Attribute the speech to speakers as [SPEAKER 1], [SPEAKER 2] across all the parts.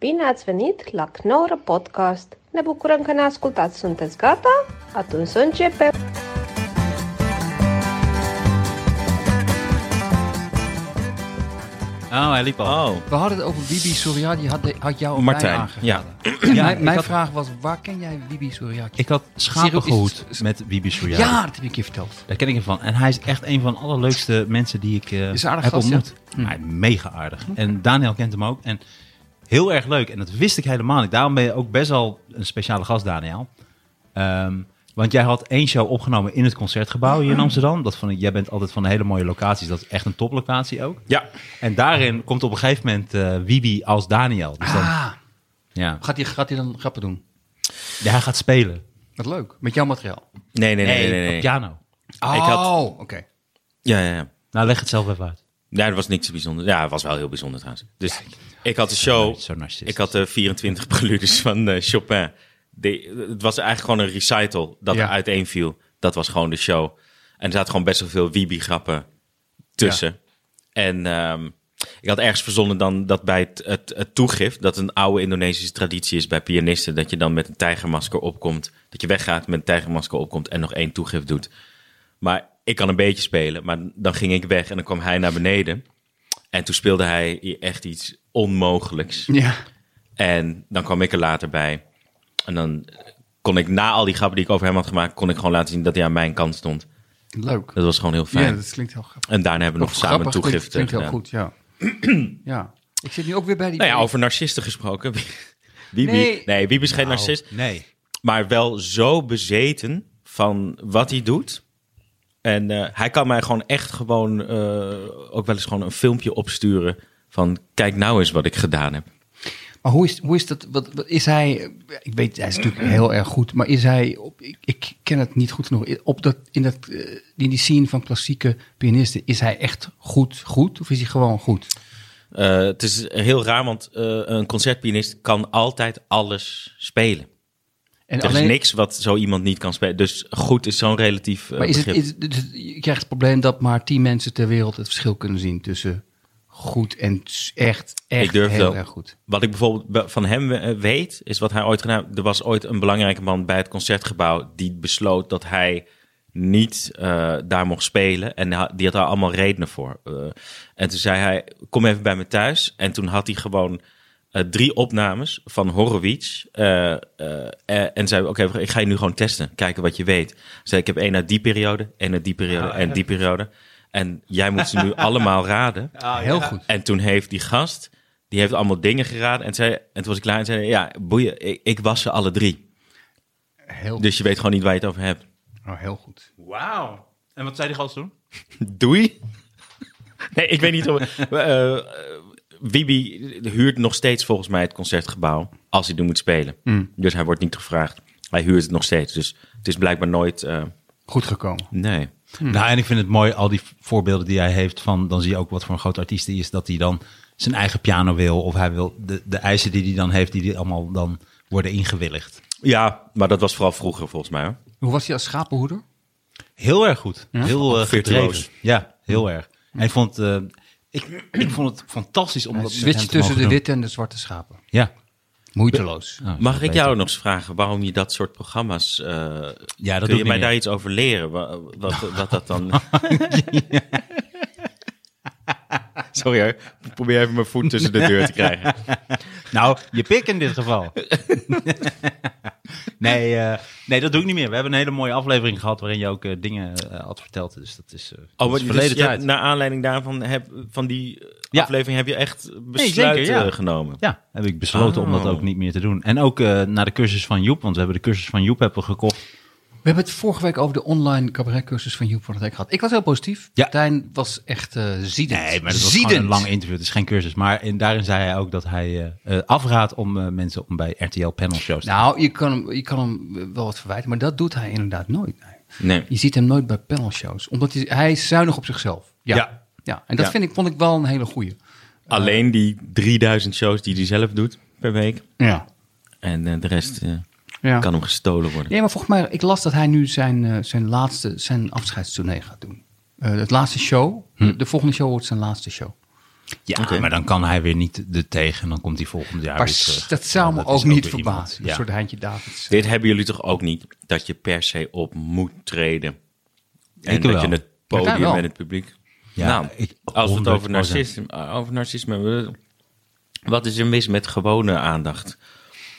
[SPEAKER 1] Bine ați venit la Knorr Podcast! Ne bucurăm că ne ascultați! Sunteți gata? Atunci să începem!
[SPEAKER 2] Oh, hij liep al.
[SPEAKER 3] Oh,
[SPEAKER 4] We hadden het over Bibi Soriati, had, de- had jou op mij
[SPEAKER 3] Martijn.
[SPEAKER 4] aangeraden.
[SPEAKER 3] Ja.
[SPEAKER 2] Ja,
[SPEAKER 4] mijn mijn
[SPEAKER 2] ik had,
[SPEAKER 4] vraag was, waar ken jij Bibi Soriati?
[SPEAKER 2] ik had schapen
[SPEAKER 4] Siroop is-
[SPEAKER 2] gehoord
[SPEAKER 4] is-
[SPEAKER 2] met Bibi Soriati.
[SPEAKER 4] ja, dat heb ik je verteld.
[SPEAKER 2] Daar ken ik hem van. En hij is echt een van de allerleukste mensen die ik eh,
[SPEAKER 4] Is een
[SPEAKER 2] heb
[SPEAKER 4] aardig gast,
[SPEAKER 2] ontmoet.
[SPEAKER 4] ja. Hm.
[SPEAKER 2] Hij is mega aardig. En Daniel kent hem ook. En heel erg leuk. En dat wist ik helemaal niet. Daarom ben je ook best wel een speciale gast, Daniel. Ehm, want jij had één show opgenomen in het Concertgebouw hier in Amsterdam. Dat vond ik, jij bent altijd van de hele mooie locaties. Dat is echt een toplocatie ook.
[SPEAKER 3] ja.
[SPEAKER 2] En daarin komt op een gegeven moment eh, Bibi als Daniel. Dus dan,
[SPEAKER 4] Ah,
[SPEAKER 2] ja.
[SPEAKER 4] gaat hij, gaat hij dan grappen doen?
[SPEAKER 2] Ja, hij gaat spelen.
[SPEAKER 4] Wat leuk, met jouw materiaal.
[SPEAKER 3] Nee, nee, nee, nee.
[SPEAKER 2] op
[SPEAKER 3] nee. Ja.
[SPEAKER 2] piano.
[SPEAKER 4] Oh,
[SPEAKER 3] had-
[SPEAKER 4] oké.
[SPEAKER 3] ja, ja.
[SPEAKER 2] Nou, leg het zelf even uit.
[SPEAKER 3] Nee, dat was niks bijzonders. Ja, het was wel heel bijzonder trouwens. Dus ik had de show.
[SPEAKER 2] Zo narcistisch.
[SPEAKER 3] Ik had de 24 preludes van eh, Chopin. De, het was eigenlijk gewoon een recital dat
[SPEAKER 4] Ja.
[SPEAKER 3] er uiteenviel. Dat was gewoon de show. En er zaten gewoon best wel veel Wiebi-grappen tussen. En ehm, ik had ergens verzonnen dan dat bij het, het, het toegift... dat een oude Indonesische traditie is bij pianisten... dat je dan met een tijgermasker opkomt. Dat je weggaat met een tijgermasker opkomt en nog één toegift doet. Maar ik kan een beetje spelen. Maar dan ging ik weg en dan kwam hij naar beneden. En toen speelde hij echt iets onmogelijks.
[SPEAKER 4] Ja.
[SPEAKER 3] En dan kwam ik er later bij. En dan kon ik na al die grappen die ik over hem had gemaakt, kon ik gewoon laten zien dat hij aan mijn kant stond.
[SPEAKER 4] Leuk.
[SPEAKER 3] Dat was gewoon heel
[SPEAKER 4] Ja,
[SPEAKER 3] fijn.
[SPEAKER 4] dat klinkt heel grappig.
[SPEAKER 3] En daarna hebben we nog
[SPEAKER 4] Of
[SPEAKER 3] samen
[SPEAKER 4] grappig,
[SPEAKER 3] toegifte
[SPEAKER 4] klinkt, klinkt heel
[SPEAKER 3] gedaan.
[SPEAKER 4] goed, ja. ja. Ik zit nu ook weer bij die...
[SPEAKER 3] Nou ja, over narcisten gesproken.
[SPEAKER 4] Nee.
[SPEAKER 3] Wie nee. nee, Wiebe is geen
[SPEAKER 2] Oh.
[SPEAKER 3] narcist.
[SPEAKER 2] Nee.
[SPEAKER 3] Maar wel zo bezeten van wat hij doet. En eh, hij kan mij gewoon echt gewoon eh, ook wel eens gewoon een filmpje opsturen van kijk nou eens wat ik gedaan heb.
[SPEAKER 4] Maar hoe is, hoe is dat? Wat, wat is hij? Ik weet, hij is natuurlijk heel erg goed, maar is hij? Op, ik, ik ken het niet goed genoeg. Op dat, in, dat, eh, in die scene van klassieke pianisten, is hij echt goed, goed? Of is hij gewoon goed?
[SPEAKER 3] Eh, het is heel raar, want eh, een concertpianist kan altijd alles spelen.
[SPEAKER 4] En
[SPEAKER 3] er is niks wat zo iemand niet kan spelen. Dus goed is zo'n relatief eh,
[SPEAKER 4] Maar is het,
[SPEAKER 3] begrip.
[SPEAKER 4] is- dus je krijgt het probleem dat maar tien mensen ter wereld het verschil kunnen zien tussen goed en s- echt, echt
[SPEAKER 3] Ik durf
[SPEAKER 4] heel
[SPEAKER 3] wel.
[SPEAKER 4] erg goed.
[SPEAKER 3] Wat ik bijvoorbeeld be- van hem eh, weet, is wat hij ooit gedaan heeft. Er was ooit een belangrijke man bij het concertgebouw die besloot dat hij niet eh, daar mocht spelen. En ha- die had daar allemaal redenen voor. Eh, en toen zei hij, kom even bij me thuis. En toen had hij gewoon eh, drie opnames van Horowitz. eh, eh, eh, en zei, oké, ik ga je nu gewoon testen. Kijken wat je weet. Hij Zei, ik heb één uit die periode, één uit die periode en die periode. En jij moet ze nu allemaal raden.
[SPEAKER 4] heel goed.
[SPEAKER 3] En toen heeft die gast, die heeft allemaal dingen geraden. En, zei, en toen was ik klaar en zei, hij, ja, boeien, ik, ik was ze alle drie.
[SPEAKER 4] Heel,
[SPEAKER 3] Dus je weet gewoon niet waar je het over hebt.
[SPEAKER 4] oh, heel goed.
[SPEAKER 2] Wauw. En wat zei die gast toen?
[SPEAKER 3] Doei. Nee, ik weet niet of... eh, eh, Wiebe huurt nog steeds volgens mij het concertgebouw als hij er moet spelen. Dus hij wordt niet gevraagd. Hij huurt het nog steeds. Dus het is blijkbaar nooit... eh,
[SPEAKER 4] Goed gekomen.
[SPEAKER 3] nee.
[SPEAKER 2] Nou, en ik vind het mooi, al die voorbeelden die hij heeft van... dan zie je ook wat voor een groot artiest hij is... dat hij dan zijn eigen piano wil. Of hij wil de, de eisen die hij dan heeft, die, die allemaal dan worden ingewilligd.
[SPEAKER 3] Ja, maar dat was vooral vroeger volgens mij. Hoor.
[SPEAKER 4] Hoe was hij als schapenhoeder?
[SPEAKER 2] Heel erg goed. Heel eh,
[SPEAKER 3] Virtuoos.
[SPEAKER 2] gedreven. Ja, heel erg. En ik vond, eh, ik, ik vond het fantastisch om dat met hem
[SPEAKER 4] Switch
[SPEAKER 2] te
[SPEAKER 4] tussen de
[SPEAKER 2] mogen
[SPEAKER 4] witte en de zwarte schapen.
[SPEAKER 2] doen. Ja.
[SPEAKER 4] Moeiteloos.
[SPEAKER 2] Nou,
[SPEAKER 3] Mag
[SPEAKER 2] dat
[SPEAKER 3] ik
[SPEAKER 2] weet
[SPEAKER 3] jou nog eens vragen waarom je dat soort programma's... eh,
[SPEAKER 2] Ja, dat doe
[SPEAKER 3] kun
[SPEAKER 2] ik
[SPEAKER 3] je mij
[SPEAKER 2] niet
[SPEAKER 3] daar
[SPEAKER 2] meer.
[SPEAKER 3] iets over leren? Wa- Wat, wat, dat dan... Sorry hoor, ik probeer even mijn voet tussen de deur te krijgen.
[SPEAKER 2] Nou, je pik in dit geval. nee, eh, nee, dat doe ik niet meer. We hebben een hele mooie aflevering gehad waarin je ook eh, dingen eh, had verteld. Dus dat is, eh
[SPEAKER 3] Oh,
[SPEAKER 2] dat
[SPEAKER 3] maar
[SPEAKER 2] is verleden
[SPEAKER 3] dus je hebt
[SPEAKER 2] tijd.
[SPEAKER 3] naar aanleiding daarvan heb, van die eh,
[SPEAKER 2] Ja.
[SPEAKER 3] aflevering heb je echt besluit
[SPEAKER 2] zeker, ja.
[SPEAKER 3] eh, genomen.
[SPEAKER 2] Ja, heb ik besloten om dat
[SPEAKER 3] Oh.
[SPEAKER 2] ook niet meer te doen. En ook eh, naar de cursus van Joep, want we hebben de cursus van Joep hebben we gekocht.
[SPEAKER 4] We hebben het vorige week over de online cabaretcursus van Joep van het Hek gehad. Ik was heel positief.
[SPEAKER 2] Ja.
[SPEAKER 4] Martijn was echt eh ziedend.
[SPEAKER 2] Nee, maar dat was gewoon
[SPEAKER 4] Ziedend.
[SPEAKER 2] een lang interview. Het is geen cursus. Maar in, daarin zei hij ook dat hij eh, eh, afraadt om eh, mensen om bij RTL panel shows te
[SPEAKER 4] Nou, je kan, hem, je kan hem wel wat verwijten, maar dat doet hij inderdaad nooit. Nee.
[SPEAKER 3] Nee.
[SPEAKER 4] Je ziet hem nooit bij panelshows, omdat hij, hij is zuinig op zichzelf. Ja.
[SPEAKER 3] Ja.
[SPEAKER 4] ja. en dat
[SPEAKER 3] Ja.
[SPEAKER 4] Vind ik, vond ik wel een hele goeie.
[SPEAKER 3] Alleen die 3000 shows die hij zelf doet per week.
[SPEAKER 4] Ja.
[SPEAKER 3] En eh, de rest eh,
[SPEAKER 4] ja.
[SPEAKER 3] kan hem gestolen worden.
[SPEAKER 4] Nee, maar volgens mij, ik las dat hij nu zijn, eh, zijn laatste,
[SPEAKER 2] Hm.
[SPEAKER 4] zijn afscheidstournee gaat doen. Eh het laatste show, de volgende show wordt zijn laatste show.
[SPEAKER 2] Ja,
[SPEAKER 3] Oké.
[SPEAKER 2] maar dan kan hij weer niet de tegen en dan komt hij volgend jaar
[SPEAKER 4] maar
[SPEAKER 2] weer terug.
[SPEAKER 4] s- dat zou
[SPEAKER 2] eh, Ja,
[SPEAKER 4] me
[SPEAKER 2] is
[SPEAKER 4] ook niet
[SPEAKER 2] weer iemand.
[SPEAKER 4] verbazen. Een
[SPEAKER 2] Ja.
[SPEAKER 4] soort Heintje Davids.
[SPEAKER 3] Dit hebben jullie toch ook niet? Dat je per se op moet treden. En
[SPEAKER 2] Ik
[SPEAKER 3] dat
[SPEAKER 2] wel.
[SPEAKER 3] je het
[SPEAKER 4] Ja,
[SPEAKER 3] podium
[SPEAKER 4] wel.
[SPEAKER 3] en het publiek.
[SPEAKER 2] Ja,
[SPEAKER 3] nou,
[SPEAKER 2] ik-
[SPEAKER 3] als we het over
[SPEAKER 2] 100%.
[SPEAKER 3] narcisme, over narcisme hebben. Wat is er mis met gewone aandacht?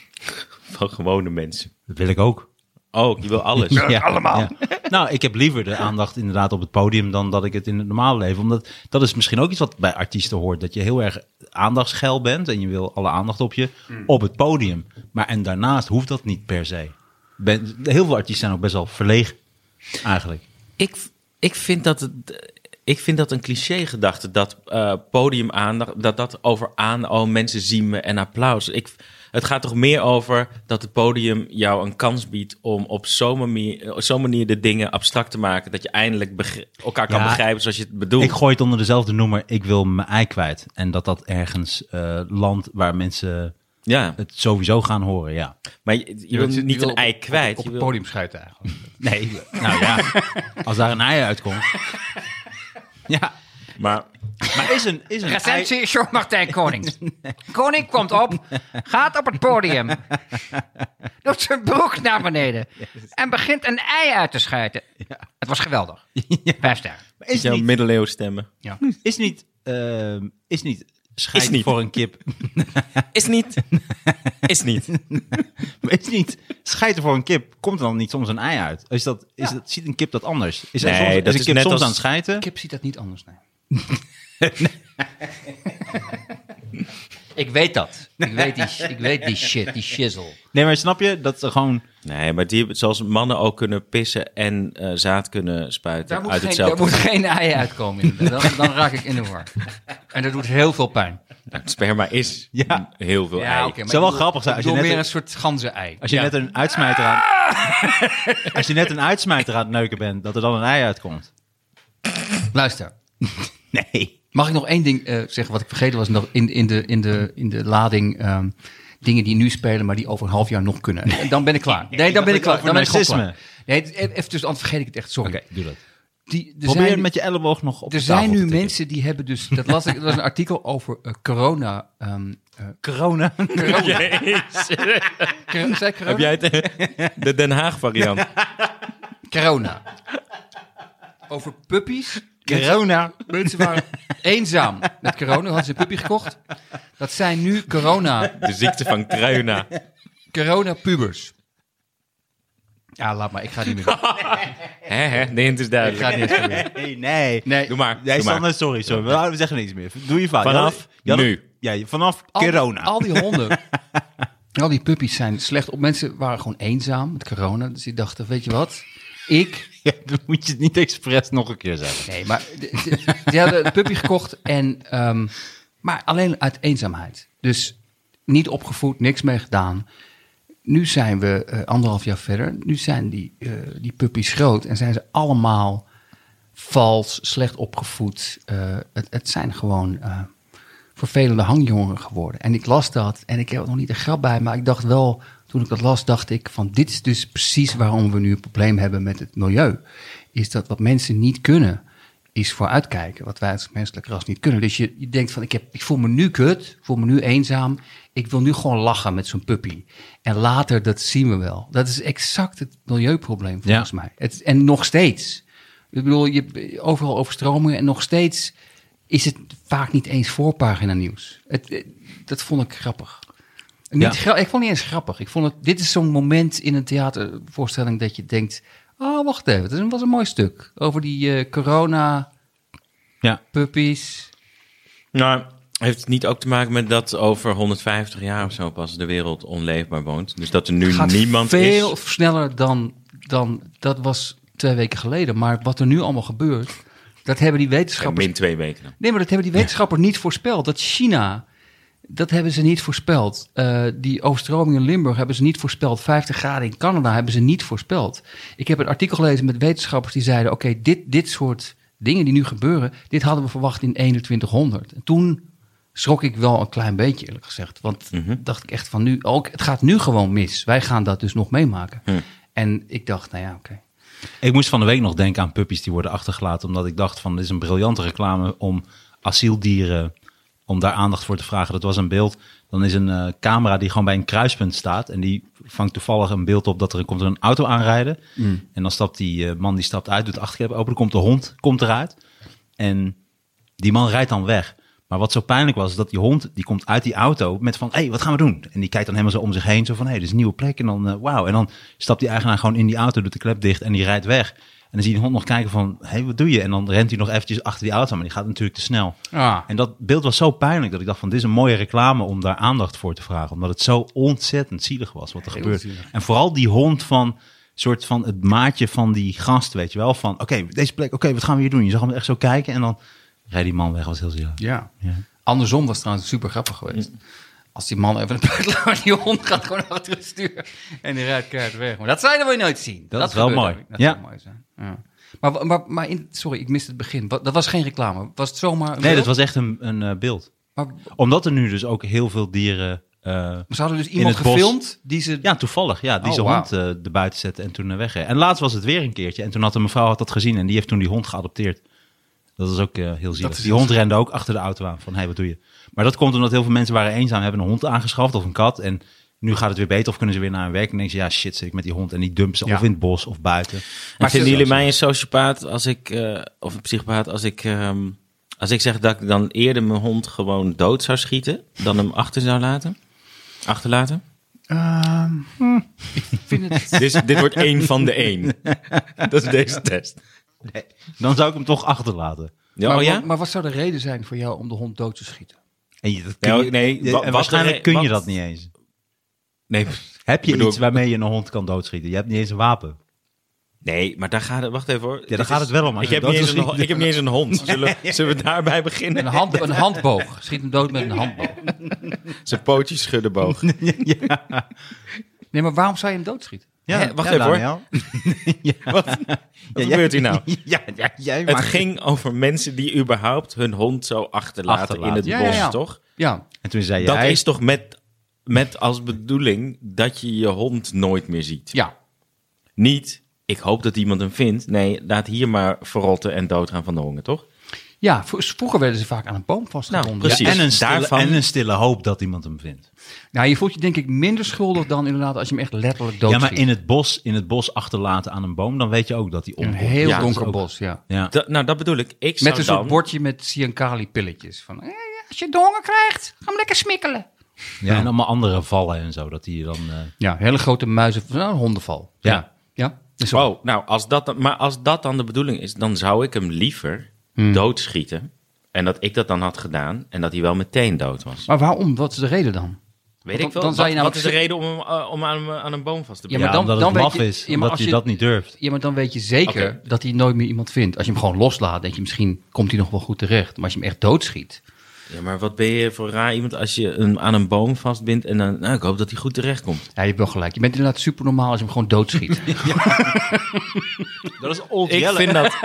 [SPEAKER 3] Van gewone mensen.
[SPEAKER 2] Dat wil ik ook.
[SPEAKER 3] Oh, je wil alles.
[SPEAKER 2] Ja, allemaal. Nou, ik heb liever de aandacht inderdaad op het podium dan dat ik het in het normale leven. Omdat dat is misschien ook iets wat bij artiesten hoort. Dat je heel erg aandachtsgeil bent en je wil alle aandacht op je op het podium. Maar en daarnaast hoeft dat niet per se. Ben, heel veel artiesten zijn ook best wel verlegen eigenlijk.
[SPEAKER 3] Ik, ik, vind dat het, ik vind dat een cliché gedachte, dat eh podiumaandacht, dat dat over aan, oh mensen zien me en applaus. Ik, het gaat toch meer over dat het podium jou een kans biedt om op zo'n manier, op zo'n manier de dingen abstract te maken, dat je eindelijk begri- elkaar kan
[SPEAKER 2] Ja,
[SPEAKER 3] begrijpen zoals je het bedoelt.
[SPEAKER 2] Ik gooi het onder dezelfde noemer. Ik wil mijn ei kwijt. En dat dat ergens eh land waar mensen
[SPEAKER 3] ja,
[SPEAKER 2] het sowieso gaan horen, ja.
[SPEAKER 3] maar je, je wilt niet een ei kwijt.
[SPEAKER 4] Op
[SPEAKER 3] je
[SPEAKER 4] het
[SPEAKER 3] wil-
[SPEAKER 4] podium schuiten eigenlijk.
[SPEAKER 2] Nee, nou ja. Als daar een ei uitkomt. Ja,
[SPEAKER 3] maar
[SPEAKER 2] maar is een, is een ei...
[SPEAKER 5] Recensie Jean Martijn Konings. Koning komt op, gaat op het podium, doet zijn broek naar beneden en begint een ei uit te schijten. Het was geweldig. Vijf sterren.
[SPEAKER 2] Is
[SPEAKER 3] jouw
[SPEAKER 2] niet-
[SPEAKER 3] middeleeuwen stemmen.
[SPEAKER 2] Is niet, ehm, is niet schijt
[SPEAKER 3] Is niet.
[SPEAKER 2] voor een kip.
[SPEAKER 3] Is niet. Is niet.
[SPEAKER 2] is niet schijten voor een kip. Komt er dan niet soms een ei uit? Is dat, is dat, ziet een kip dat anders? Is, er
[SPEAKER 3] Nee,
[SPEAKER 2] soms,
[SPEAKER 3] dat
[SPEAKER 2] is een
[SPEAKER 3] is
[SPEAKER 2] kip
[SPEAKER 3] net
[SPEAKER 2] soms
[SPEAKER 3] als-
[SPEAKER 2] aan het schijten?
[SPEAKER 4] Kip ziet dat niet anders, nee.
[SPEAKER 5] Ik weet dat. Ik weet die, ik weet die shit, die shizzle.
[SPEAKER 2] Nee, maar snap je? Dat ze gewoon...
[SPEAKER 3] Nee, maar die, hebben- zoals mannen ook kunnen pissen en eh, zaad kunnen spuiten
[SPEAKER 4] Daar moet,
[SPEAKER 3] uit
[SPEAKER 4] geen,
[SPEAKER 3] hetzelfde
[SPEAKER 4] daar moet geen ei uitkomen. inderdaad. Dan, dan raak ik in de war. En dat doet heel veel pijn.
[SPEAKER 3] Nou, sperma is
[SPEAKER 2] Ja.
[SPEAKER 3] heel veel ei.
[SPEAKER 2] zou wel grappig zijn als je
[SPEAKER 4] Door
[SPEAKER 2] net
[SPEAKER 4] meer
[SPEAKER 2] een-
[SPEAKER 4] een soort ganzen-ei.
[SPEAKER 2] Als je
[SPEAKER 4] Ja.
[SPEAKER 2] net een uitsmijter aan... als je net een uitsmijter aan het neuken bent, dat er dan een ei uitkomt.
[SPEAKER 4] Luister,
[SPEAKER 2] Nee.
[SPEAKER 4] mag ik nog één ding eh, zeggen wat ik vergeten was nog in, in, de, in, de, in de lading? ehm, dingen die nu spelen, maar die over een half jaar nog kunnen. En Dan ben ik klaar. Nee, dan ben
[SPEAKER 2] dat
[SPEAKER 4] ik klaar.
[SPEAKER 2] over
[SPEAKER 4] Dan ben ik gewoon klaar.
[SPEAKER 2] narcisme.
[SPEAKER 4] Nee, het- even dus, anders vergeet ik het echt. Sorry.
[SPEAKER 2] Oké, doe dat.
[SPEAKER 4] Die, er
[SPEAKER 2] Probeer
[SPEAKER 4] zijn
[SPEAKER 2] het
[SPEAKER 4] nu-
[SPEAKER 2] met je elleboog nog op
[SPEAKER 4] Er
[SPEAKER 2] de tafel
[SPEAKER 4] zijn
[SPEAKER 2] te
[SPEAKER 4] nu
[SPEAKER 2] tikken.
[SPEAKER 4] mensen die hebben dus... Dat las ik, dat was een artikel over eh, corona... ehm, eh,
[SPEAKER 2] Corona.
[SPEAKER 4] corona.
[SPEAKER 3] Jezus.
[SPEAKER 4] Cor- zei ik corona?
[SPEAKER 3] Heb jij het, de Den Haag variant?
[SPEAKER 4] Corona. Over puppies.
[SPEAKER 2] Corona.
[SPEAKER 4] Mensen waren eenzaam met corona. Hadden ze een puppy gekocht. Dat zijn nu corona,
[SPEAKER 3] De ziekte van Kruina.
[SPEAKER 4] corona pubers. Ja, laat maar. Ik ga niet meer. doen.
[SPEAKER 3] Hè, hè? Nee, het is
[SPEAKER 4] Ik ga
[SPEAKER 3] duidelijk.
[SPEAKER 4] het niet eens doen.
[SPEAKER 2] Nee, nee.
[SPEAKER 4] Nee.
[SPEAKER 3] Doe maar.
[SPEAKER 2] Nee,
[SPEAKER 3] doe maar.
[SPEAKER 2] Sander, sorry, sorry. We- We zeggen niks meer. Doe je vaak.
[SPEAKER 3] Vanaf nu.
[SPEAKER 2] Ja, je- vanaf
[SPEAKER 4] Al die-
[SPEAKER 2] corona.
[SPEAKER 4] Al die honden. al die puppies zijn slecht op. Mensen waren gewoon eenzaam met corona. Dus die dachten, weet je wat? Ik
[SPEAKER 2] Ja, dan moet je het niet expres nog een keer zeggen.
[SPEAKER 4] Nee, maar de- de- ze hadden een puppy gekocht en... ehm, maar alleen uit eenzaamheid. Dus niet opgevoed, niks mee gedaan. Nu zijn we eh, anderhalf jaar verder. Nu zijn die, eh, die puppies groot en zijn ze allemaal vals, slecht opgevoed. Eh, het, het zijn gewoon eh, vervelende hangjongeren geworden. En ik las dat en ik heb er nog niet een grap bij, maar ik dacht wel, toen ik dat las, dacht ik van dit is dus precies waarom we nu een probleem hebben met het milieu. Is dat wat mensen niet kunnen, is vooruitkijken. Wat wij als menselijk ras niet kunnen. Dus je, je denkt van ik, heb, ik voel me nu kut, ik voel me nu eenzaam. Ik wil nu gewoon lachen met zo'n puppy. En later, dat zien we wel. Dat is exact het milieuprobleem volgens mij. Het, en nog steeds. Ik bedoel, je hebt overal overstromingen en nog steeds is het vaak niet eens voorpagina nieuws. Het, eh, dat vond ik grappig. Niet
[SPEAKER 2] Ja.
[SPEAKER 4] gra- ik vond het niet eens grappig. Ik vond het, dit is zo'n moment in een theatervoorstelling dat je denkt... Oh, wacht even, dat was een mooi stuk. Over die eh, corona-puppies.
[SPEAKER 2] Ja.
[SPEAKER 3] Nou, heeft het niet ook te maken met dat over 150 jaar of zo pas de wereld onleefbaar woont? Dus dat er nu
[SPEAKER 4] Gaat
[SPEAKER 3] niemand
[SPEAKER 4] veel
[SPEAKER 3] is.
[SPEAKER 4] sneller dan, dan... Dat was twee weken geleden. Maar wat er nu allemaal gebeurt... Dat hebben die
[SPEAKER 3] En
[SPEAKER 4] wetenschappers
[SPEAKER 3] min twee weken. dan.
[SPEAKER 4] Nee, maar dat hebben die wetenschappers niet voorspeld. Dat China, dat hebben ze niet voorspeld. Eh, die overstroming in Limburg hebben ze niet voorspeld. 50 graden in Canada hebben ze niet voorspeld. Ik heb een artikel gelezen met wetenschappers die zeiden... oké, dit, dit soort dingen die nu gebeuren... dit hadden we verwacht in 2100. En toen schrok ik wel een klein beetje, eerlijk gezegd. Want dacht ik echt van nu... Ook, het gaat nu gewoon mis. Wij gaan dat dus nog meemaken. En ik dacht, nou ja, oké.
[SPEAKER 2] Ik moest van de week nog denken aan puppies die worden achtergelaten. Omdat ik dacht van, dit is een briljante reclame om asieldieren om daar aandacht voor te vragen. Dat was een beeld. Dan is een eh, camera die gewoon bij een kruispunt staat. En die vangt toevallig een beeld op dat er komt er een auto aanrijden. En dan stapt die eh, man die stapt uit, doet de achterklep open. Dan komt de hond komt eruit. En die man rijdt dan weg. Maar wat zo pijnlijk was, is dat die hond die komt uit die auto met van... hé, hey, wat gaan we doen? En die kijkt dan helemaal zo om zich heen. Zo van, hé, hey, dit is een nieuwe plek. En dan, eh, wauw. En dan stapt die eigenaar gewoon in die auto, doet de klep dicht en die rijdt weg. En dan zie je die hond nog kijken van, hé, hey, wat doe je? En dan rent hij nog eventjes achter die auto, maar die gaat natuurlijk te snel.
[SPEAKER 5] Ah.
[SPEAKER 2] En dat beeld was zo pijnlijk dat ik dacht van, dit is een mooie reclame om daar aandacht voor te vragen. Omdat het zo ontzettend zielig was wat er gebeurt. En vooral die hond van, soort van het maatje van die gast, weet je wel. Van, oké, deze plek, oké, wat gaan we hier doen? Je zag hem echt zo kijken en dan rijdt die man weg. was heel zielig.
[SPEAKER 4] Ja. Andersom was het trouwens super grappig geweest.
[SPEAKER 2] Mm.
[SPEAKER 4] Als die man even een buitenlaar die hond gaat gewoon achter het stuur. En die rijdt keihard weg. Maar dat zou je dan wel nooit zien.
[SPEAKER 2] Dat is wel
[SPEAKER 4] gebeurt
[SPEAKER 2] mooi.
[SPEAKER 4] ook. Dat
[SPEAKER 2] Ja.
[SPEAKER 4] zou mooi zijn. Ja. Maar, maar, maar in, sorry, ik miste het begin. Wat- Dat was geen reclame. Was het zomaar
[SPEAKER 2] Nee,
[SPEAKER 4] een
[SPEAKER 2] dat
[SPEAKER 4] beeld?
[SPEAKER 2] was echt een, een eh, beeld.
[SPEAKER 4] Maar
[SPEAKER 2] Omdat er nu dus ook heel veel dieren... eh,
[SPEAKER 4] ze hadden dus iemand
[SPEAKER 2] het bos.
[SPEAKER 4] gefilmd die ze...
[SPEAKER 2] ja, toevallig. Ja, die
[SPEAKER 4] Oh,
[SPEAKER 2] zijn
[SPEAKER 4] wauw.
[SPEAKER 2] hond eh erbuiten zetten en toen naar weg. En laatst was het weer een keertje. En toen had een mevrouw had dat gezien en die heeft toen die hond geadopteerd. Dat is ook eh, heel zielig.
[SPEAKER 4] is
[SPEAKER 2] Die
[SPEAKER 4] heel
[SPEAKER 2] hond rende ook achter de auto aan. Van, hé, hey, wat doe je? Maar dat komt omdat heel veel mensen waren eenzaam. Hebben een hond aangeschaft of een kat. En nu gaat het weer beter of kunnen ze weer naar hun werk. En denken ze, ja, shit, zit ik met die hond. En die dumpen ze
[SPEAKER 4] Ja.
[SPEAKER 2] of in het bos of buiten.
[SPEAKER 3] Maar
[SPEAKER 2] ze-
[SPEAKER 3] vinden jullie mij een sociopaat als ik, eh, of een psychopaat als ik, ehm, als ik zeg dat ik dan eerder mijn hond gewoon dood zou schieten dan hem achter zou laten? Achterlaten?
[SPEAKER 4] Ehm, hm, ik vind het...
[SPEAKER 3] dit, dit wordt één van de één. Dat is deze test.
[SPEAKER 2] Dan zou ik hem toch achterlaten.
[SPEAKER 3] Ja,
[SPEAKER 4] maar,
[SPEAKER 3] oh ja?
[SPEAKER 4] wat- maar wat zou de reden zijn voor jou om de hond dood te schieten?
[SPEAKER 2] En je, dat
[SPEAKER 3] Ja,
[SPEAKER 2] kun je-
[SPEAKER 3] nee,
[SPEAKER 2] en
[SPEAKER 3] wa- wat
[SPEAKER 2] waarschijnlijk
[SPEAKER 3] er-
[SPEAKER 2] kun je
[SPEAKER 3] wat-
[SPEAKER 2] dat niet eens.
[SPEAKER 3] Nee,
[SPEAKER 2] Heb je
[SPEAKER 3] bedoel-
[SPEAKER 2] iets waarmee je een hond kan doodschieten? Je hebt niet eens een wapen.
[SPEAKER 3] nee, maar daar gaat het. Wacht even hoor.
[SPEAKER 2] daar
[SPEAKER 3] Dit
[SPEAKER 2] gaat het wel om, als
[SPEAKER 3] Ik
[SPEAKER 2] je
[SPEAKER 3] heb,
[SPEAKER 2] dood
[SPEAKER 3] niet eens
[SPEAKER 2] wil
[SPEAKER 3] een,
[SPEAKER 2] schieten.
[SPEAKER 3] ik heb niet eens een hond. Zullen, zullen we daarbij beginnen?
[SPEAKER 4] Een, hand, een handboog. Schiet hem dood met een handboog.
[SPEAKER 3] Zijn pootjes schudden boog.
[SPEAKER 4] Nee, maar waarom zou je hem doodschieten?
[SPEAKER 3] Hè, wacht even, hoor.
[SPEAKER 2] hoor.
[SPEAKER 3] Wat, wat gebeurt hier nou?
[SPEAKER 2] Ja, ja, jij
[SPEAKER 3] Het
[SPEAKER 2] maakt-
[SPEAKER 3] ging over mensen die überhaupt hun hond zo achterlaten,
[SPEAKER 2] Achterlaten.
[SPEAKER 3] in het
[SPEAKER 4] Ja, ja,
[SPEAKER 3] bos,
[SPEAKER 4] ja.
[SPEAKER 3] toch?
[SPEAKER 4] Ja,
[SPEAKER 2] En toen zei
[SPEAKER 3] Dat
[SPEAKER 2] jij...
[SPEAKER 3] is toch met, met als bedoeling dat je je hond nooit meer ziet.
[SPEAKER 4] ja.
[SPEAKER 3] Niet, ik hoop dat iemand hem vindt. Nee, laat hier maar verrotten en doodgaan van de honger, toch?
[SPEAKER 4] Ja, vro- vroeger werden ze vaak aan een boom vastgebonden.
[SPEAKER 3] Nou,
[SPEAKER 2] Ja,
[SPEAKER 3] precies.
[SPEAKER 2] en, een stille,
[SPEAKER 3] Daarvan-
[SPEAKER 2] en een stille hoop dat iemand hem vindt.
[SPEAKER 4] Nou, je voelt je denk ik minder schuldig dan inderdaad als je hem echt letterlijk
[SPEAKER 2] Ja,
[SPEAKER 4] doodschiet.
[SPEAKER 2] maar in het, bos, in het bos achterlaten aan een boom, dan weet je ook dat hij
[SPEAKER 4] In een
[SPEAKER 2] omkomt.
[SPEAKER 4] heel
[SPEAKER 3] Ja,
[SPEAKER 4] donker
[SPEAKER 2] ook.
[SPEAKER 4] bos, ja.
[SPEAKER 2] Ja.
[SPEAKER 3] Da- nou, dat bedoel ik. Ik zou
[SPEAKER 4] Met een
[SPEAKER 3] dan...
[SPEAKER 4] soort bordje met Siankali pilletjes. Van, eh, als je de honger krijgt, ga hem lekker smikkelen.
[SPEAKER 2] ja, en allemaal andere vallen en zo, dat hij je dan... eh,
[SPEAKER 4] Ja, hele grote muizen. Nou, een hondenval.
[SPEAKER 2] Ja.
[SPEAKER 4] Ja. Zo.
[SPEAKER 3] Wow, nou, als dat dan, maar als dat dan de bedoeling is, dan zou ik hem liever
[SPEAKER 4] Hmm.
[SPEAKER 3] doodschieten. En dat ik dat dan had gedaan en dat hij wel meteen dood was.
[SPEAKER 4] Maar waarom? Wat is de reden dan?
[SPEAKER 3] Weet
[SPEAKER 4] dan-
[SPEAKER 3] ik wel.
[SPEAKER 4] dan zou je namelijk
[SPEAKER 3] wat, wat is de
[SPEAKER 4] zeggen-
[SPEAKER 3] reden om, hem, eh, om aan, hem, eh, aan een boom vast te
[SPEAKER 4] Ja,
[SPEAKER 3] binden?
[SPEAKER 4] maar
[SPEAKER 2] ja,
[SPEAKER 4] dan-
[SPEAKER 2] omdat
[SPEAKER 4] dan
[SPEAKER 2] het
[SPEAKER 4] weet
[SPEAKER 2] laf
[SPEAKER 4] je-
[SPEAKER 2] is,
[SPEAKER 4] ja, maar
[SPEAKER 2] omdat
[SPEAKER 4] als
[SPEAKER 2] je
[SPEAKER 4] je-
[SPEAKER 2] dat niet durft.
[SPEAKER 4] Ja, maar dan weet je zeker
[SPEAKER 3] Oké.
[SPEAKER 4] dat hij nooit meer iemand vindt. Als je hem gewoon loslaat, denk je misschien komt hij nog wel goed terecht. Maar als je hem echt doodschiet.
[SPEAKER 3] Ja, maar wat ben je voor raar iemand als je hem aan een boom vastbindt en dan... Nou, ik hoop dat hij goed terechtkomt.
[SPEAKER 4] Ja, je hebt wel gelijk. Je bent inderdaad super normaal als je hem gewoon doodschiet.
[SPEAKER 2] Dat is Old
[SPEAKER 3] Ik vind dat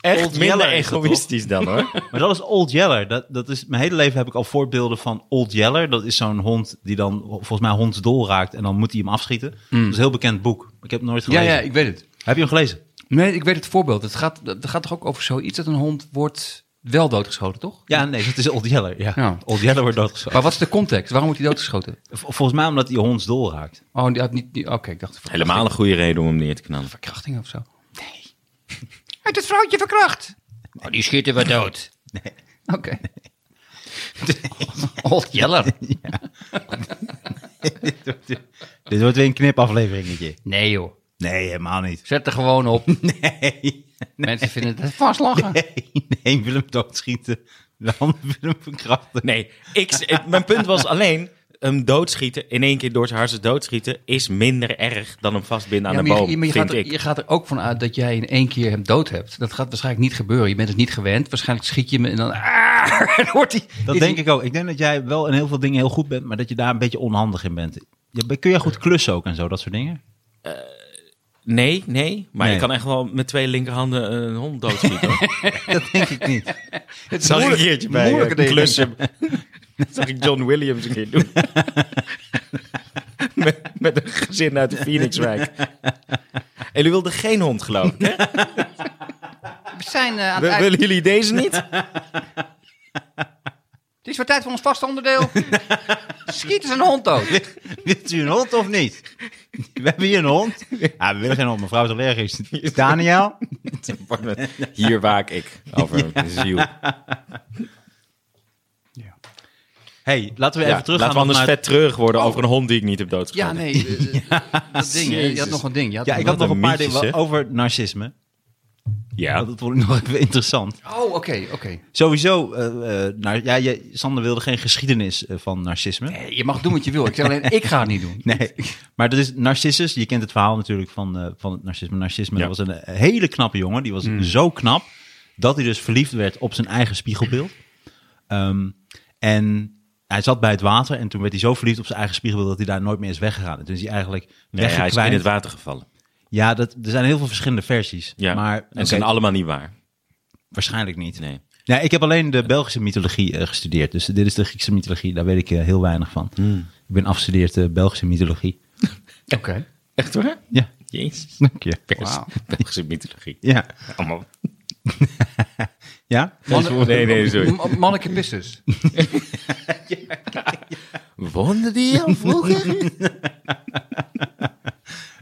[SPEAKER 3] echt
[SPEAKER 2] Old
[SPEAKER 3] minder
[SPEAKER 2] Yeller is dat,
[SPEAKER 3] egoïstisch dan, hoor.
[SPEAKER 2] Maar dat is Old Yeller. Dat, dat is, mijn hele leven heb ik al voorbeelden van Old Yeller. Dat is zo'n hond die dan volgens mij hondsdol raakt en dan moet hij hem afschieten. Dat is een heel bekend boek. Ik heb het nooit
[SPEAKER 4] Mm. ja,
[SPEAKER 2] gelezen.
[SPEAKER 4] ja, ik weet het.
[SPEAKER 2] Heb je hem gelezen?
[SPEAKER 4] Nee, ik weet het voorbeeld. Het gaat, het gaat toch ook over zoiets dat een hond wordt wel doodgeschoten, toch?
[SPEAKER 2] Ja, nee, dat is Old Yeller. Ja.
[SPEAKER 4] Ja.
[SPEAKER 2] Old Yeller wordt doodgeschoten.
[SPEAKER 4] Maar wat is de context? Waarom wordt hij doodgeschoten?
[SPEAKER 2] V- Volgens mij omdat hij hondsdol raakt.
[SPEAKER 4] Oh, die had niet... die- Oké, ik dacht... verkrachting-
[SPEAKER 3] Helemaal een goede reden om hem neer te knallen.
[SPEAKER 4] Verkrachting of zo? Nee. Hij heeft het vrouwtje verkracht. Oh, die schieten we dood. Nee. Oké. Old Yeller.
[SPEAKER 2] Dit wordt weer een knipafleveringetje.
[SPEAKER 4] Nee, joh.
[SPEAKER 2] Nee, helemaal niet.
[SPEAKER 4] Zet er gewoon op.
[SPEAKER 2] Nee,
[SPEAKER 4] Mensen vinden het vast lachen.
[SPEAKER 2] nee, nee, wil hem doodschieten. De handen willen hem verkrachten.
[SPEAKER 3] Nee, ik, ik- mijn punt was alleen... Hem doodschieten, in één keer door zijn hartstikke doodschieten... is minder erg dan hem vastbinden aan
[SPEAKER 4] Ja,
[SPEAKER 3] een
[SPEAKER 4] maar je-
[SPEAKER 3] boom,
[SPEAKER 4] je, maar je
[SPEAKER 3] Nou, vind
[SPEAKER 4] gaat er,
[SPEAKER 3] ik.
[SPEAKER 4] je gaat er ook van uit dat jij in één keer hem dood hebt. Dat gaat waarschijnlijk niet gebeuren. Je bent het niet gewend. Waarschijnlijk schiet je hem en dan... Ah, dan wordt hij...
[SPEAKER 2] Dat denk ik ook. Ik denk dat jij wel in heel veel dingen heel goed bent, maar dat je daar een beetje onhandig in bent. Je, ben- kun jij goed klussen ook en zo, dat soort dingen?
[SPEAKER 3] Nee, nee. Maar
[SPEAKER 2] Nee.
[SPEAKER 3] je kan echt wel met twee linkerhanden een hond doodschieten. hoor.
[SPEAKER 2] Dat denk ik niet.
[SPEAKER 4] Het
[SPEAKER 3] Zag ik een keertje bij
[SPEAKER 4] moeilijke
[SPEAKER 3] eh,
[SPEAKER 4] dingen.
[SPEAKER 3] klussen. Dat zag ik John Williams een keer doen. met, met een gezin uit de Phoenixwijk. En jullie wilden geen hond, geloof ik. hè?
[SPEAKER 4] We zijn eh, aan het
[SPEAKER 3] Wil-
[SPEAKER 4] uit-
[SPEAKER 3] Willen jullie deze niet?
[SPEAKER 4] Het is
[SPEAKER 5] weer tijd voor ons vaste onderdeel. Schiet eens een hond dood.
[SPEAKER 2] Wilt u een hond of niet? We hebben hier een hond. Ja, we willen geen hond. Mevrouw is allergisch. Daniel?
[SPEAKER 3] Hier waak ik over mijn ziel.
[SPEAKER 2] hey, laten we
[SPEAKER 3] Ja,
[SPEAKER 2] even terug
[SPEAKER 3] laten we anders vet treurig worden over een hond die ik niet heb
[SPEAKER 4] Ja,
[SPEAKER 3] doodgeschoten.
[SPEAKER 4] nee. eh, dat ding, hè. je had
[SPEAKER 3] Jezus.
[SPEAKER 4] nog een ding. Je had
[SPEAKER 2] Ja,
[SPEAKER 4] nog
[SPEAKER 2] ik had
[SPEAKER 3] Wat
[SPEAKER 2] nog een
[SPEAKER 3] een
[SPEAKER 2] paar
[SPEAKER 3] mietjes,
[SPEAKER 2] dingen
[SPEAKER 3] hè?
[SPEAKER 2] over narcisme.
[SPEAKER 3] Ja.
[SPEAKER 2] Dat vond ik nog even interessant.
[SPEAKER 4] Oh, oké, oké.
[SPEAKER 2] Sowieso, eh, eh, nou, ja, je, Sander wilde geen geschiedenis eh, van narcisme.
[SPEAKER 4] Nee, je mag doen wat je wil. Ik zeg alleen, ik ga het niet doen.
[SPEAKER 2] Nee, maar dat is Narcissus. Je kent het verhaal natuurlijk van, eh, van het narcisme. Narcisme
[SPEAKER 3] Ja. Mm.
[SPEAKER 2] dat was een eh, hele knappe jongen. Die was zo knap dat hij dus verliefd werd op zijn eigen spiegelbeeld. Ehm, en hij zat bij het water en toen werd hij zo verliefd op zijn eigen spiegelbeeld dat hij daar nooit meer is weggegaan. En toen is hij eigenlijk
[SPEAKER 3] Nee, hij is in
[SPEAKER 2] weggekwijnd.
[SPEAKER 3] het water gevallen.
[SPEAKER 2] ja, dat, er zijn heel veel verschillende versies.
[SPEAKER 3] Ja.
[SPEAKER 2] Maar
[SPEAKER 3] en
[SPEAKER 2] oké,
[SPEAKER 3] ze zijn allemaal niet waar.
[SPEAKER 2] waarschijnlijk niet.
[SPEAKER 3] Nee.
[SPEAKER 2] Ja, ik heb alleen de Belgische mythologie eh, gestudeerd. Dus dit is de Griekse mythologie. Daar weet ik eh, heel weinig van. Ik ben afgestudeerd eh, Belgische mythologie.
[SPEAKER 4] Oké.
[SPEAKER 3] Echt waar?
[SPEAKER 2] Ja,
[SPEAKER 3] Jezus.
[SPEAKER 2] dank je.
[SPEAKER 3] Pers.
[SPEAKER 4] Wauw.
[SPEAKER 3] Belgische mythologie.
[SPEAKER 2] Ja,
[SPEAKER 3] Allemaal.
[SPEAKER 2] ja.
[SPEAKER 3] Nee, nee, sorry.
[SPEAKER 4] M- Manneke pissus.
[SPEAKER 3] Woonde die al vroeger?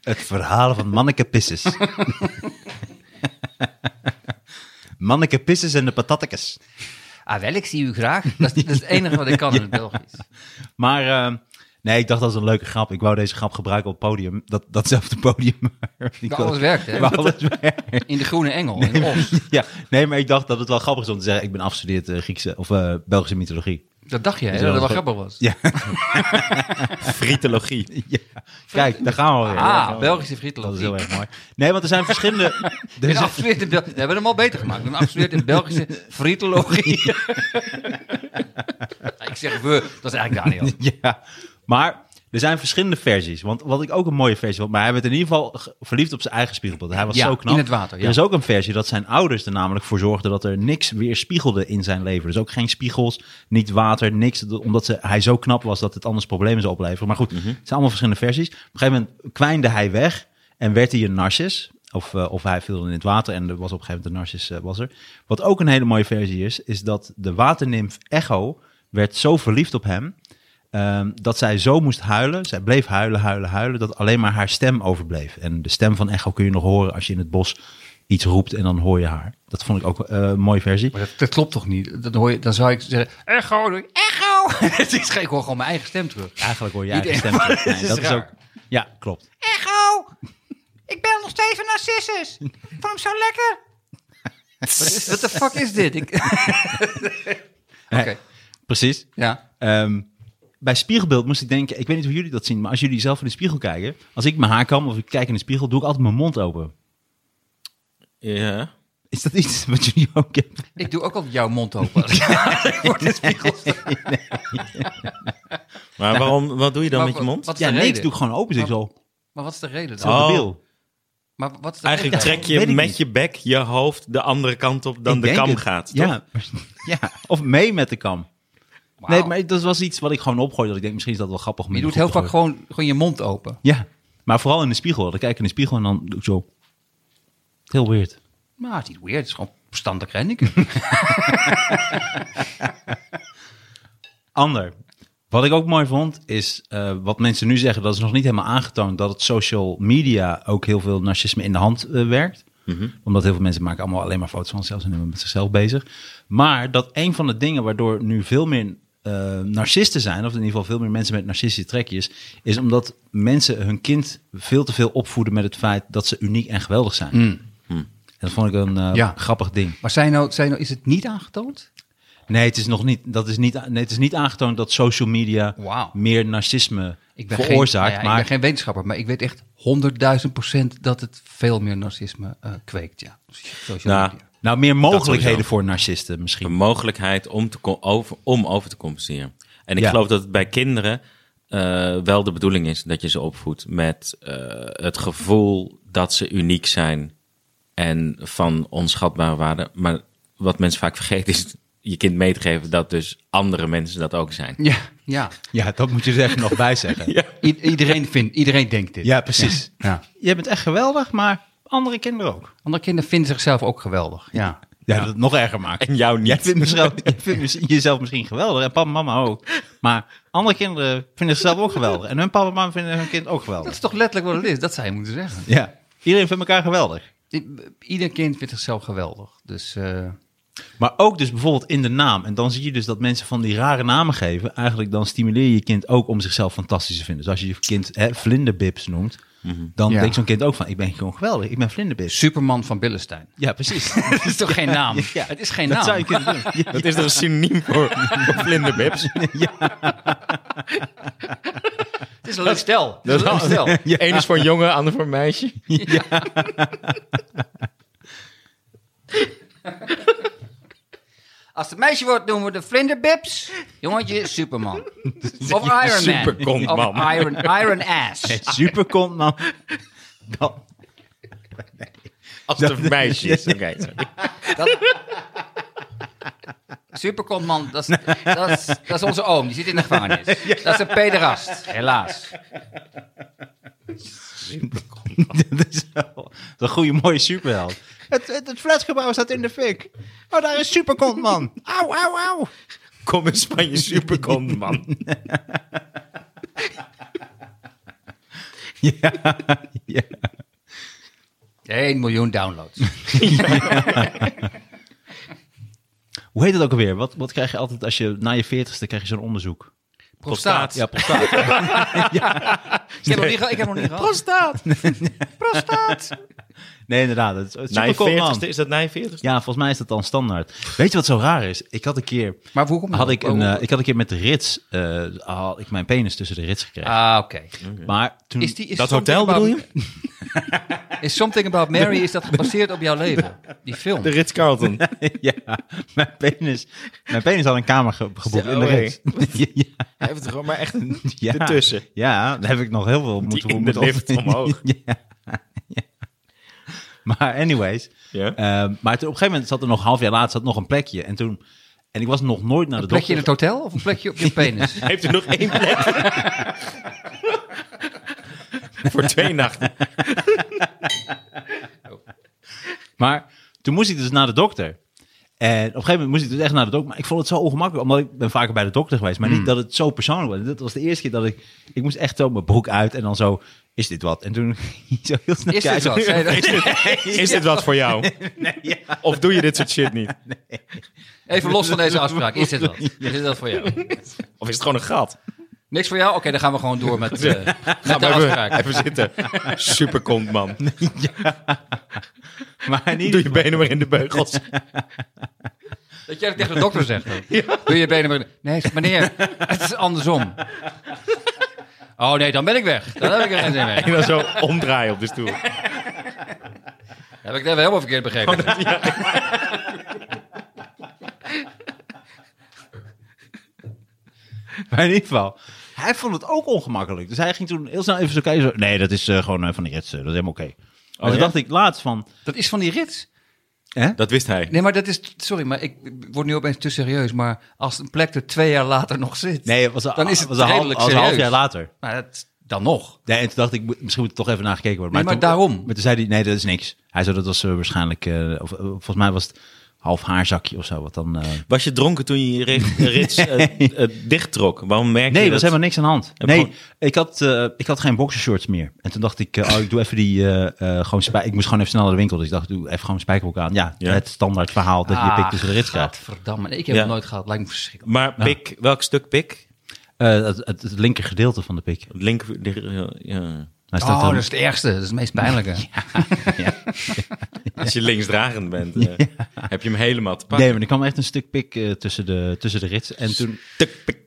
[SPEAKER 2] Het verhaal van Manneke Pisses. Manneke Pisses en de patattekes.
[SPEAKER 5] Ah, wel, ik zie u
[SPEAKER 4] Graag. Dat is, dat is het enige wat ik kan in het Belgisch.
[SPEAKER 2] Maar eh, nee, ik dacht dat was een leuke grap. Ik wou deze grap gebruiken op het podium. Dat, datzelfde podium. Maar ik
[SPEAKER 4] Dat
[SPEAKER 2] kon-
[SPEAKER 4] alles werkt, hè?
[SPEAKER 2] waar alles werkt.
[SPEAKER 4] In de Groene Engel, in Os.
[SPEAKER 2] Ja, nee, maar ik dacht dat het wel grappig is om te zeggen... ik ben afgestudeerd eh, Griekse of eh, Belgische mythologie.
[SPEAKER 4] Dat dacht jij, hè,
[SPEAKER 2] Is wel
[SPEAKER 4] dat dat wel
[SPEAKER 2] goed.
[SPEAKER 4] grappig was.
[SPEAKER 2] Ja,
[SPEAKER 3] Frietologie.
[SPEAKER 2] ja. Kijk, daar gaan we alweer.
[SPEAKER 4] Ah, Belgische
[SPEAKER 2] dat is Dus-
[SPEAKER 4] frietologie.
[SPEAKER 2] heel erg mooi. Nee, want er zijn verschillende... er
[SPEAKER 4] Een
[SPEAKER 2] zijn-
[SPEAKER 4] afgestudeerd in Bel- We hebben hem al beter gemaakt. Een afgestudeerd in Belgische frietologie. ik zeg we, dat is eigenlijk Daniel.
[SPEAKER 2] Ja, maar er zijn verschillende versies. Want wat ik ook een mooie versie vond, maar hij werd in ieder geval ge- verliefd op zijn eigen spiegelbeeld. Hij was
[SPEAKER 4] Ja,
[SPEAKER 2] zo knap.
[SPEAKER 4] in het water, ja.
[SPEAKER 2] Er is ook een versie dat zijn ouders er namelijk voor zorgden dat er niks weer spiegelde in zijn leven. Dus ook geen spiegels, niet water, niks. d- Omdat ze, hij zo knap was dat het anders problemen zou opleveren. Maar goed, het zijn allemaal verschillende versies. Op een gegeven moment kwijnde hij weg en werd hij een narcis. Of, eh, of hij viel in het water en er was op een gegeven moment een narcis eh, was er. Wat ook een hele mooie versie is, is dat de waternimf Echo werd zo verliefd op hem Ehm, dat zij zo moest huilen. Zij bleef huilen, huilen, huilen. Dat alleen maar haar stem overbleef. En de stem van Echo kun je nog horen als je in het bos iets roept en dan hoor je haar. Dat vond ik ook eh, een mooie versie.
[SPEAKER 4] Maar dat, dat klopt toch niet? Dat hoor je, dan zou ik zeggen, echo, doe ik, echo. het is gek, ik hoor gewoon mijn eigen stem terug.
[SPEAKER 2] Eigenlijk hoor je
[SPEAKER 4] Niet
[SPEAKER 2] eigen
[SPEAKER 4] echt,
[SPEAKER 2] stem.
[SPEAKER 4] maar
[SPEAKER 2] terug.
[SPEAKER 4] het
[SPEAKER 2] Nee,
[SPEAKER 4] is
[SPEAKER 2] dat is
[SPEAKER 4] raar.
[SPEAKER 2] ook. Ja, klopt.
[SPEAKER 5] Echo! oh. Ik bel nog steeds van Narcissus. Ik vond hem zo lekker.
[SPEAKER 4] Wat de fuck is dit? Ik- Oké,
[SPEAKER 2] Eh, precies.
[SPEAKER 4] ja.
[SPEAKER 2] Ehm, bij spiegelbeeld moest ik denken, ik weet niet hoe jullie dat zien, maar als jullie zelf in de spiegel kijken, als ik mijn haar kam of ik kijk in de spiegel, doe ik altijd mijn mond open.
[SPEAKER 3] Ja.
[SPEAKER 2] Is dat iets wat jullie ook hebben?
[SPEAKER 4] Ik doe ook altijd jouw mond open. Voor de spiegel.
[SPEAKER 3] Nou, Maar waarom, wat doe je dan
[SPEAKER 4] Maar
[SPEAKER 3] met je
[SPEAKER 4] wat-
[SPEAKER 3] mond?
[SPEAKER 4] Wat is
[SPEAKER 2] Ja,
[SPEAKER 4] de
[SPEAKER 2] niks
[SPEAKER 4] reden?
[SPEAKER 2] doe ik gewoon open. Dus ik zo,
[SPEAKER 4] Maar wat is de reden dan?
[SPEAKER 3] Oh.
[SPEAKER 2] zo debiel.
[SPEAKER 4] Maar wat is de
[SPEAKER 3] Eigenlijk
[SPEAKER 4] reden?
[SPEAKER 3] trek je
[SPEAKER 2] Weet ik
[SPEAKER 3] met
[SPEAKER 2] niet.
[SPEAKER 3] je bek je hoofd de andere kant op dan
[SPEAKER 2] Ik
[SPEAKER 3] de
[SPEAKER 2] denk
[SPEAKER 3] kam
[SPEAKER 2] het.
[SPEAKER 3] gaat. Toch?
[SPEAKER 2] Ja. ja, of mee met de kam.
[SPEAKER 4] Wauw.
[SPEAKER 2] Nee, maar dat was iets wat ik gewoon opgooide. Dat ik denk, misschien is dat wel grappig. om
[SPEAKER 4] Je
[SPEAKER 2] in de
[SPEAKER 4] doet heel
[SPEAKER 2] groep
[SPEAKER 4] vaak
[SPEAKER 2] te
[SPEAKER 4] gewoon, gewoon je mond open.
[SPEAKER 2] gooien. Ja, maar vooral in de spiegel. Dan kijk ik in de spiegel en dan doe ik zo. Heel weird.
[SPEAKER 4] Maar het is niet weird, het is gewoon verstandig renniken.
[SPEAKER 2] Ander. Wat ik ook mooi vond, is eh, wat mensen nu zeggen, dat is nog niet helemaal aangetoond, dat het social media ook heel veel narcisme in de hand eh, werkt. Omdat heel veel mensen maken allemaal alleen maar foto's van zichzelf en zijn met zichzelf bezig. Maar dat een van de dingen waardoor nu veel meer eh, narcisten zijn, of in ieder geval veel meer mensen met narcistische trekjes, is omdat mensen hun kind veel te veel opvoeden met het feit dat ze uniek en geweldig zijn. En dat vond ik een eh,
[SPEAKER 4] Ja.
[SPEAKER 2] grappig ding.
[SPEAKER 4] Maar zijn nou, zijn nou, is het niet aangetoond?
[SPEAKER 2] Nee, het is nog niet. Dat is niet. a- Nee, het is niet aangetoond dat social media
[SPEAKER 4] Wauw.
[SPEAKER 2] meer narcisme
[SPEAKER 4] geen-
[SPEAKER 2] veroorzaakt.
[SPEAKER 4] nou ja,
[SPEAKER 2] maar
[SPEAKER 4] Ik ben geen wetenschapper, maar ik weet echt 100.000 procent dat het veel meer narcisme eh, kweekt. Ja. Social
[SPEAKER 3] Nou,
[SPEAKER 4] media.
[SPEAKER 2] nou, meer mogelijkheden
[SPEAKER 3] sowieso.
[SPEAKER 2] voor narcisten
[SPEAKER 3] De
[SPEAKER 2] misschien.
[SPEAKER 3] mogelijkheid om, te co- over, om over te compenseren. En ik
[SPEAKER 2] Ja.
[SPEAKER 3] geloof dat het bij kinderen eh, wel de bedoeling is dat je ze opvoedt met eh, het gevoel dat ze uniek zijn en van onschatbare waarde. Maar wat mensen vaak vergeten is je kind mee te geven dat dus andere mensen dat ook zijn.
[SPEAKER 4] Ja, ja.
[SPEAKER 2] Ja, dat moet je er even nog bij zeggen. Ja,
[SPEAKER 4] I- iedereen, vindt, iedereen denkt dit.
[SPEAKER 2] precies.
[SPEAKER 4] Ja.
[SPEAKER 2] Je bent echt geweldig, maar andere kinderen ook.
[SPEAKER 4] Andere kinderen vinden zichzelf ook geweldig. Ja.
[SPEAKER 2] Ja, dat het nog erger maakt.
[SPEAKER 3] En jou
[SPEAKER 2] Jij
[SPEAKER 3] niet.
[SPEAKER 2] vindt, misschien, jij vindt misschien- jezelf misschien geweldig en papa en mama ook. Maar andere kinderen vinden zichzelf ook geweldig. En hun papa en mama vinden hun kind ook
[SPEAKER 4] Dat is
[SPEAKER 2] geweldig.
[SPEAKER 4] toch letterlijk wat het is? Dat zou je moeten zeggen.
[SPEAKER 2] Ja, iedereen vindt elkaar geweldig.
[SPEAKER 4] I- Ieder kind vindt zichzelf geweldig. Dus eh,
[SPEAKER 2] Maar ook dus bijvoorbeeld in de naam. En dan zie je dus dat mensen van die rare namen geven. Eigenlijk dan stimuleer je je kind ook om zichzelf fantastisch te vinden. Dus als je je kind hè, vlinderbips noemt, dan
[SPEAKER 4] Ja.
[SPEAKER 2] denkt zo'n kind ook van... ik ben gewoon geweldig, ik ben vlinderbips.
[SPEAKER 4] Superman van Billenstein.
[SPEAKER 2] Ja, precies.
[SPEAKER 4] Dat is toch geen naam?
[SPEAKER 2] Ja,
[SPEAKER 4] het is geen
[SPEAKER 2] dat
[SPEAKER 4] naam.
[SPEAKER 2] zou je kunnen doen. Ja.
[SPEAKER 3] Dat is toch een synoniem voor, voor vlinderbips?
[SPEAKER 4] Het is een leuk stel. Het is een leuk stel.
[SPEAKER 3] Eén is voor een jongen, ander voor een meisje.
[SPEAKER 5] Als het meisje wordt, noemen we de vlinderbips. Jongetje, Superman. Of Iron Man.
[SPEAKER 3] superkont,
[SPEAKER 5] of
[SPEAKER 3] man.
[SPEAKER 5] Iron, Iron Ass.
[SPEAKER 2] Super komt man. Dan,
[SPEAKER 3] Als het een meisje is. Oké,
[SPEAKER 5] Superkont, man. Dat is, dat, is, dat is onze oom. Die zit in de gevangenis. Dat is een pederast, helaas.
[SPEAKER 2] dat is wel dat is een goede mooie superheld. Het, het, het flatgebouw staat in de fik. Oh, daar is Superkont, man. Auw, auw, auw.
[SPEAKER 3] Kom in Spanje, superkont, man.
[SPEAKER 2] Ja.
[SPEAKER 4] 1 miljoen downloads.
[SPEAKER 2] Hoe heet het ook alweer? Wat, wat krijg je altijd als je na je veertigste krijg je zo'n onderzoek?
[SPEAKER 4] Prostaat.
[SPEAKER 2] Ja, prostaat.
[SPEAKER 5] Ik heb nog niet ge- ik heb nog niet gehad.
[SPEAKER 3] Prostaat.
[SPEAKER 2] Nee, inderdaad. Het, het
[SPEAKER 3] Na je
[SPEAKER 2] Superkont, man.
[SPEAKER 3] 40ste, is dat na je 40ste?
[SPEAKER 2] Ja, volgens mij is dat dan standaard. Weet je wat zo raar is? Ik had een keer,
[SPEAKER 4] Maar hoe komt dat?
[SPEAKER 2] had ik, een, eh, ik had een keer met de rits, eh, had ik mijn penis tussen de rits gekregen.
[SPEAKER 4] Ah, oké.
[SPEAKER 2] maar toen,
[SPEAKER 4] Is die- is
[SPEAKER 3] Dat
[SPEAKER 4] Something
[SPEAKER 3] hotel bedoel
[SPEAKER 4] About-
[SPEAKER 3] je?
[SPEAKER 4] Is Something About Mary, is dat gebaseerd op jouw leven? Die film.
[SPEAKER 3] De Ritz-Carlton.
[SPEAKER 2] ja, mijn penis, mijn penis had een kamer ge- geboekt
[SPEAKER 3] Zo,
[SPEAKER 2] in de
[SPEAKER 3] hé.
[SPEAKER 2] rits. ja,
[SPEAKER 3] Hij heeft er gewoon maar echt een
[SPEAKER 2] ja.
[SPEAKER 3] ertussen.
[SPEAKER 2] Ja, daar heb ik nog heel veel moeten
[SPEAKER 3] in de
[SPEAKER 2] moeten-
[SPEAKER 3] lift omhoog.
[SPEAKER 2] ja, ja. Maar anyways,
[SPEAKER 3] Ja.
[SPEAKER 2] ehm, maar toen, op een gegeven moment zat er nog een half jaar later zat nog een plekje en toen en ik was nog nooit naar de
[SPEAKER 4] Een plekje
[SPEAKER 2] dokter.
[SPEAKER 4] in het hotel of een plekje op je penis?
[SPEAKER 3] Heeft u nog één plek? Voor twee nachten.
[SPEAKER 2] Maar toen moest ik dus naar de dokter. En op een gegeven moment moest ik dus echt naar de dokter. Maar ik vond het zo ongemakkelijk, omdat ik ben vaker bij de dokter geweest. Maar niet
[SPEAKER 4] Hmm.
[SPEAKER 2] dat het zo persoonlijk was. Dit was de eerste keer dat ik... Ik moest echt zo mijn broek uit en dan zo... Is dit wat? En toen ging ik zo heel snel
[SPEAKER 4] Is dit
[SPEAKER 2] kijken.
[SPEAKER 4] wat? Zei je dat?
[SPEAKER 3] Is dit wat voor jou? Of doe je dit soort shit niet?
[SPEAKER 4] Even los van deze afspraak. Is dit wat? Is dit wat voor jou?
[SPEAKER 3] Of is het gewoon een gat?
[SPEAKER 4] Niks voor jou? Oké, dan gaan we gewoon door met, eh met de
[SPEAKER 3] Even,
[SPEAKER 4] afspraak.
[SPEAKER 3] even zitten. Superkont, man.
[SPEAKER 2] Maar niet...
[SPEAKER 3] Doe je benen maar in de beugels.
[SPEAKER 4] Dat jij dat tegen de dokter zegt. dan. Doe je benen maar... Nee, zeg, meneer, het is andersom. Oh nee, dan ben ik weg. Dan heb ik er geen zin mee.
[SPEAKER 3] En dan zo omdraaien op de stoel.
[SPEAKER 4] Heb ik dat helemaal verkeerd begrepen?
[SPEAKER 2] Maar in ieder geval, hij vond het ook ongemakkelijk. Dus hij ging toen heel snel even zo kijken. Zo, nee, dat is eh, gewoon eh, van de rits. eh, dat is helemaal
[SPEAKER 4] Oh,
[SPEAKER 2] oké. Maar toen
[SPEAKER 3] ja?
[SPEAKER 2] dacht ik laatst van...
[SPEAKER 4] Dat is van die rits.
[SPEAKER 3] Dat wist hij.
[SPEAKER 4] Nee, maar dat is. Sorry, maar ik word nu opeens te serieus. Maar als een plek er twee jaar later nog zit.
[SPEAKER 2] Nee, het was, een-
[SPEAKER 4] Dan is het
[SPEAKER 2] was een, half,
[SPEAKER 4] redelijk
[SPEAKER 2] was een half
[SPEAKER 4] serieus.
[SPEAKER 2] jaar later.
[SPEAKER 4] Maar dat, dan nog.
[SPEAKER 2] Nee, en toen dacht ik, moet- misschien moet er toch even naar gekeken worden.
[SPEAKER 4] Nee, maar
[SPEAKER 2] toen-
[SPEAKER 4] daarom.
[SPEAKER 2] Maar toen zei hij, nee, dat is niks. Hij zei, dat was eh, waarschijnlijk... eh, of, eh, volgens mij was het half haarzakje of zo. Wat dan, eh,
[SPEAKER 3] Was je dronken toen je je rit- rits eh, eh, dichttrok? Waarom merk
[SPEAKER 2] Nee,
[SPEAKER 3] je
[SPEAKER 2] er was
[SPEAKER 3] dat?
[SPEAKER 2] helemaal niks aan de hand.
[SPEAKER 3] Heb
[SPEAKER 2] Nee,
[SPEAKER 3] gewoon-
[SPEAKER 2] ik had, eh, ik had geen boxershorts meer. En toen dacht ik, eh, oh, ik doe even die... eh, eh, gewoon spij- ik moest gewoon even snel naar de winkel. Dus ik dacht, doe even gewoon een spijkerbroek aan. Ja,
[SPEAKER 3] Ja.
[SPEAKER 2] het standaard verhaal dat je je pik tussen de rits krijgt.
[SPEAKER 4] Gadverdamme. Ah, Nee, ik heb
[SPEAKER 3] Ja.
[SPEAKER 4] het nooit gehad. Lijkt me verschrikkelijk.
[SPEAKER 3] Maar pik, welk stuk pik?
[SPEAKER 2] Eh, het, het, het linker gedeelte van de pik.
[SPEAKER 3] Het linker... de- ja.
[SPEAKER 2] Hij staat
[SPEAKER 4] Oh,
[SPEAKER 2] dan-
[SPEAKER 4] dat is het ergste. Dat is het meest pijnlijke.
[SPEAKER 3] Als je linksdragend bent, eh, heb je hem helemaal te pakken.
[SPEAKER 2] Nee, maar er kwam echt een stuk pik eh, tussen, de, tussen de rits. En toen...
[SPEAKER 3] Stuk pik.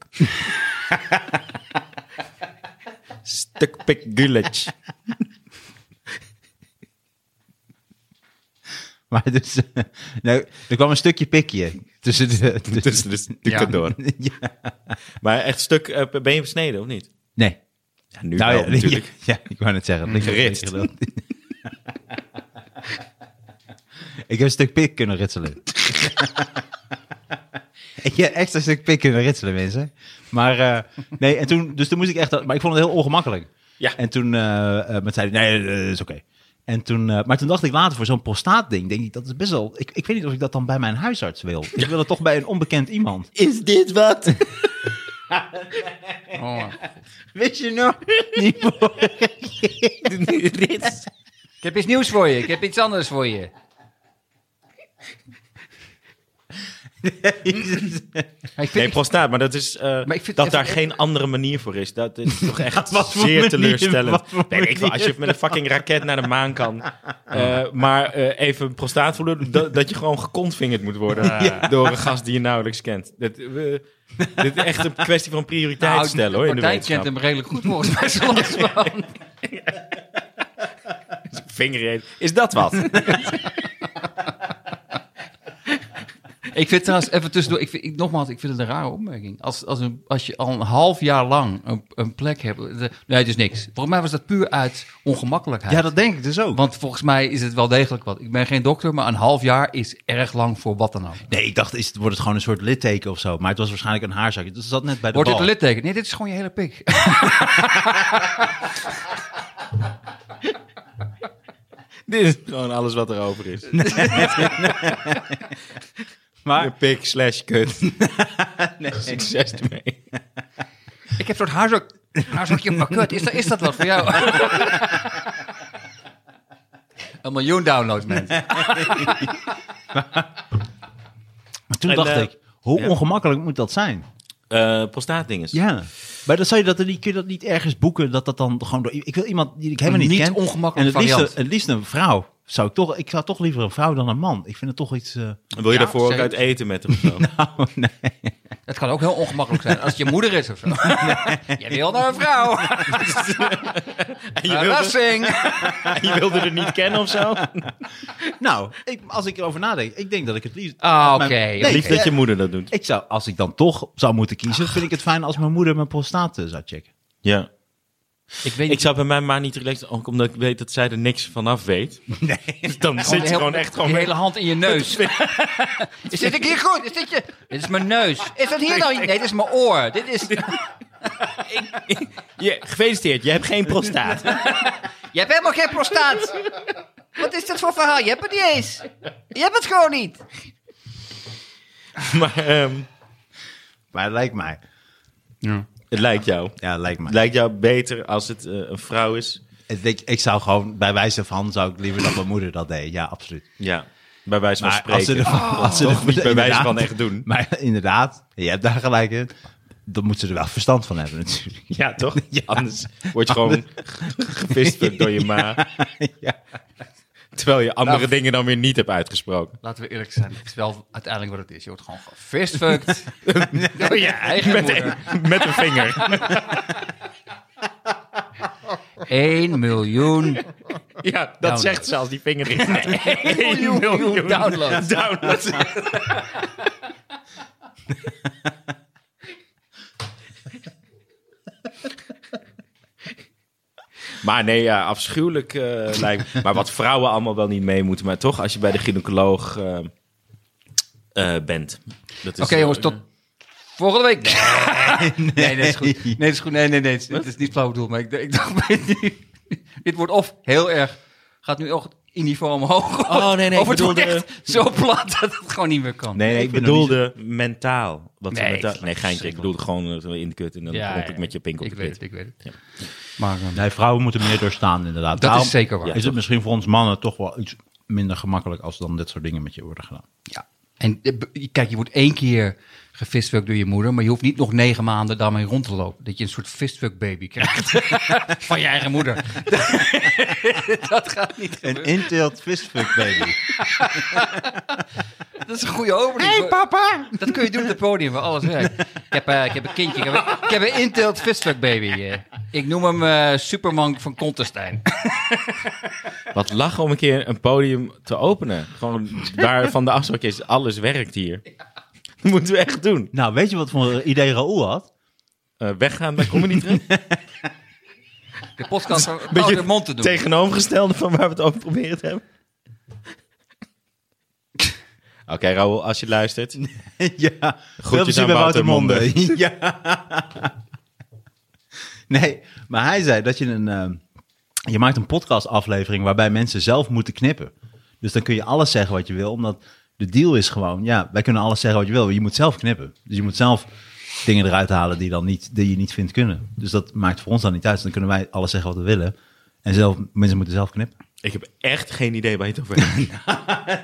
[SPEAKER 3] Stuk pik gulletje.
[SPEAKER 2] Maar dus, eh, nou, er kwam een stukje pikje tussen de... tussen-
[SPEAKER 3] Tussen de stukken
[SPEAKER 4] Ja.
[SPEAKER 3] dus, door.
[SPEAKER 2] Ja.
[SPEAKER 3] Maar echt stuk, eh, ben je besneden of niet?
[SPEAKER 2] Nee.
[SPEAKER 3] Ja, nu
[SPEAKER 2] Nou,
[SPEAKER 3] wel,
[SPEAKER 2] ja,
[SPEAKER 3] natuurlijk.
[SPEAKER 2] Ja, ik wou net zeggen. het linker-
[SPEAKER 3] Geritst.
[SPEAKER 2] linker gedeelte. ik heb een stuk pik kunnen ritselen. ik heb echt een stuk pik kunnen ritselen, mensen. Maar eh, nee, en toen, dus toen moest ik echt... dat- Maar ik vond het heel ongemakkelijk.
[SPEAKER 3] Ja.
[SPEAKER 2] En toen eh eh, maar zei hij, nee, dat is oké. En toen, eh, maar toen dacht ik later voor zo'n prostaatding, denk ik, dat is best wel... Ik, ik weet niet of ik dat dan bij mijn huisarts wil. Ik wil het toch bij een onbekend iemand.
[SPEAKER 5] Is dit wat?
[SPEAKER 4] Oh.
[SPEAKER 2] Weet je nog?
[SPEAKER 3] Ik heb iets nieuws voor je. Ik heb iets anders voor je. Maar ik vind-
[SPEAKER 5] Nee, prostaat, maar dat is eh,
[SPEAKER 4] Maar ik vind
[SPEAKER 5] dat
[SPEAKER 4] even-
[SPEAKER 5] daar geen andere manier voor is. Dat is toch echt
[SPEAKER 2] Wat voor
[SPEAKER 5] zeer
[SPEAKER 2] manier? Wat
[SPEAKER 5] teleurstellend.
[SPEAKER 2] voor
[SPEAKER 5] Nee, ik wil, als je met een fucking raket naar de maan kan, eh, maar eh, even een prostaat voelen, dat, dat je gewoon gekontvingerd moet worden door een gast die je nauwelijks kent. Dat, eh, we- dit is echt een kwestie van prioriteit
[SPEAKER 3] Nou,
[SPEAKER 5] stellen hoor, in de
[SPEAKER 3] partij kent
[SPEAKER 5] wetenschap.
[SPEAKER 3] hem redelijk goed volgens mij. zo last van.
[SPEAKER 5] Vingerreep. Is dat wat?
[SPEAKER 4] Ik vind trouwens, even tussendoor, ik vind, ik, nogmaals, ik vind het een rare opmerking. Als, als, een, als je al een half jaar lang een, een plek hebt, de- nee, het is niks. Volgens mij was dat puur uit ongemakkelijkheid.
[SPEAKER 2] Ja, dat denk ik dus ook.
[SPEAKER 4] Want volgens mij is het wel degelijk wat. Ik ben geen dokter, maar een half jaar is erg lang voor wat dan ook.
[SPEAKER 2] Nee, ik dacht, is, het- wordt het gewoon een soort litteken of zo. Maar het was waarschijnlijk een haarzakje. Dat zat net bij de
[SPEAKER 4] Wordt dit
[SPEAKER 2] bal.
[SPEAKER 4] een litteken? Nee, dit is gewoon je hele pik.
[SPEAKER 5] Dit is gewoon alles wat er over is. Je
[SPEAKER 2] maar,
[SPEAKER 5] pik slash kut. Succes ermee.
[SPEAKER 3] Ik heb een soort haarzak. Haarzakje op mijn kut. Is dat, is dat wat voor jou?
[SPEAKER 4] Een miljoen downloads, mensen.
[SPEAKER 2] maar toen
[SPEAKER 5] En,
[SPEAKER 2] dacht
[SPEAKER 5] eh,
[SPEAKER 2] ik, hoe
[SPEAKER 5] ja.
[SPEAKER 2] ongemakkelijk moet dat zijn?
[SPEAKER 5] Eh prostaatdinges.
[SPEAKER 2] Ja. Maar dan zou je dat, dan niet- kun je dat niet ergens boeken, dat dat dan gewoon door... Ik wil iemand die ik helemaal niet,
[SPEAKER 4] Een niet
[SPEAKER 2] ken. En
[SPEAKER 4] ongemakkelijke
[SPEAKER 2] het liefst,
[SPEAKER 4] variant.
[SPEAKER 2] een- het liefst een vrouw. Zou ik, toch, ik zou toch liever een vrouw dan een man. Ik vind het toch iets... eh,
[SPEAKER 5] Wil je
[SPEAKER 4] Ja,
[SPEAKER 5] daarvoor ook
[SPEAKER 4] zeker.
[SPEAKER 5] uit eten met hem? of zo?
[SPEAKER 2] nou, nee.
[SPEAKER 3] Het kan ook heel ongemakkelijk zijn als het je moeder is of zo. Jij wil naar een vrouw.
[SPEAKER 5] En je wilde-
[SPEAKER 3] Verrassing.
[SPEAKER 5] Je wilde er niet kennen of zo?
[SPEAKER 2] nou ik, als ik erover nadenk, ik denk dat ik het liefst...
[SPEAKER 3] Ah, oké.
[SPEAKER 2] mijn-
[SPEAKER 3] oké.
[SPEAKER 5] Lief dat je moeder dat doet.
[SPEAKER 2] Ik zou, als ik dan toch zou moeten kiezen, vind ik het fijn als mijn moeder mijn prostaat eh, zou checken.
[SPEAKER 5] Ja.
[SPEAKER 4] Ik weet
[SPEAKER 5] Ik zou bij mijn ma niet relaxen, ook omdat ik weet dat zij er niks vanaf weet. Nee. Dan zit
[SPEAKER 3] de
[SPEAKER 5] je
[SPEAKER 3] hele-
[SPEAKER 5] gewoon echt gewoon
[SPEAKER 3] Je
[SPEAKER 5] met-
[SPEAKER 3] hele hand in je neus. Is dit ik hier goed? Is dit je... Dit is mijn neus. Is dat hier nou? Nee, dit is mijn oor. Dit is...
[SPEAKER 5] Je, gefeliciteerd, je hebt geen prostaat.
[SPEAKER 3] Je hebt helemaal geen prostaat. Wat is dit voor verhaal? Je hebt het niet eens. Je hebt het gewoon niet.
[SPEAKER 5] maar ehm,
[SPEAKER 2] Maar het lijkt mij.
[SPEAKER 5] het lijkt jou.
[SPEAKER 2] Ja, het lijkt mij.
[SPEAKER 5] Het lijkt jou beter als het eh, een vrouw is.
[SPEAKER 2] Ik, denk- ik zou gewoon, bij wijze van, zou ik liever dat mijn moeder dat deed. Ja, absoluut.
[SPEAKER 5] Ja. Bij wijze van
[SPEAKER 2] Maar
[SPEAKER 5] spreken.
[SPEAKER 2] als ze, er, als ze er-
[SPEAKER 5] Oh. Toch niet bij wijze van
[SPEAKER 2] inderdaad.
[SPEAKER 5] echt doen.
[SPEAKER 2] Maar inderdaad, je hebt daar gelijk in. Dan moet ze er wel verstand van hebben natuurlijk.
[SPEAKER 5] Ja, toch? Anders word je gewoon gevist door je ma. Terwijl je andere dingen dan weer niet hebt uitgesproken.
[SPEAKER 4] Laten we eerlijk zijn, het is wel uiteindelijk wat het is. Je wordt gewoon gefistfucked door je eigen
[SPEAKER 5] Met,
[SPEAKER 4] moeder.
[SPEAKER 5] een- met een vinger.
[SPEAKER 3] 1 miljoen.
[SPEAKER 5] Ja, dat
[SPEAKER 3] Download.
[SPEAKER 5] zegt zelfs die vinger. erin.
[SPEAKER 3] 1 miljoen downloads.
[SPEAKER 5] Downloads. Maar nee, ja, afschuwelijk eh, lijkt me. Maar wat vrouwen allemaal wel niet mee moeten. Maar toch, als je bij de gynaecoloog eh, eh, bent. Dat is-
[SPEAKER 3] Oké jongens, tot volgende week.
[SPEAKER 4] Dus, eh, Nee, dat is goed. Nee, dat is goed. Nee, nee, nee. Het is, het is niet flauw bedoeld, maar ik, ik dacht, dit wordt of heel erg, gaat nu ook in niveau omhoog.
[SPEAKER 5] Oh, nee, nee,
[SPEAKER 4] Of
[SPEAKER 5] ik
[SPEAKER 4] het wordt
[SPEAKER 5] bedoelde-
[SPEAKER 4] echt zo plat dat het gewoon niet meer kan.
[SPEAKER 5] Nee, nee, ik
[SPEAKER 2] Ik ben nog niet
[SPEAKER 5] bedoelde mentaal. Wat
[SPEAKER 4] Nee,
[SPEAKER 5] nee,
[SPEAKER 4] ik vind
[SPEAKER 5] mentaal...
[SPEAKER 4] het
[SPEAKER 5] nee, geintje. Ik bedoelde gewoon eh, in de kut en dan
[SPEAKER 4] Ja,
[SPEAKER 5] klop ik
[SPEAKER 4] ja.
[SPEAKER 5] met je pink op
[SPEAKER 4] Ik
[SPEAKER 5] de
[SPEAKER 4] weet
[SPEAKER 5] kut.
[SPEAKER 4] het, ik weet het.
[SPEAKER 5] Ja.
[SPEAKER 4] Maar eh,
[SPEAKER 2] Nee, vrouwen moeten meer doorstaan inderdaad.
[SPEAKER 4] dat is zeker waar.
[SPEAKER 2] Is het misschien voor ons mannen toch wel iets minder gemakkelijk als dan dit soort dingen met je worden gedaan.
[SPEAKER 4] Ja. En eh, b- kijk, je wordt één keer gefistfucked door je moeder, maar je hoeft niet nog negen maanden daarmee rond te lopen. Dat je een soort fistfuck baby krijgt van je eigen moeder. dat gaat niet.
[SPEAKER 2] Een intilt fistfuck baby.
[SPEAKER 4] Dat is een goede opening. Hey, papa! Dat kun je doen op het podium waar alles werkt. Ik heb, eh, ik heb een kindje. Ik heb, een- ik heb een intelt fistfuck baby. eh. ik noem hem eh, Superman van Kontestein.
[SPEAKER 5] Wat lachen om een keer een podium te openen. Gewoon waar van de afspraak is, alles werkt hier. Dat moeten we echt doen.
[SPEAKER 2] Nou, weet je wat voor idee Raoul had?
[SPEAKER 5] Eh, weggaan bij Comedy Train.
[SPEAKER 4] De podcast van Oude Mond te doen.
[SPEAKER 5] tegenovergestelde van waar we het over proberen te hebben. Oké, Raoul, als je luistert.
[SPEAKER 2] ja,
[SPEAKER 5] aan Wouter Monde.
[SPEAKER 2] ja. Nee, maar hij zei dat je een... ehm, je maakt een podcastaflevering waarbij mensen zelf moeten knippen. Dus dan kun je alles zeggen wat je wil, omdat de deal is gewoon, ja, wij kunnen alles zeggen wat je wil, maar je moet zelf knippen. Dus je moet zelf dingen eruit halen die, dan niet, die je niet vindt kunnen. Dus dat maakt voor ons dan niet uit. Dus dan kunnen wij alles zeggen wat we willen. En zelf, mensen moeten zelf knippen.
[SPEAKER 3] Ik heb echt geen idee waar je het over hebt.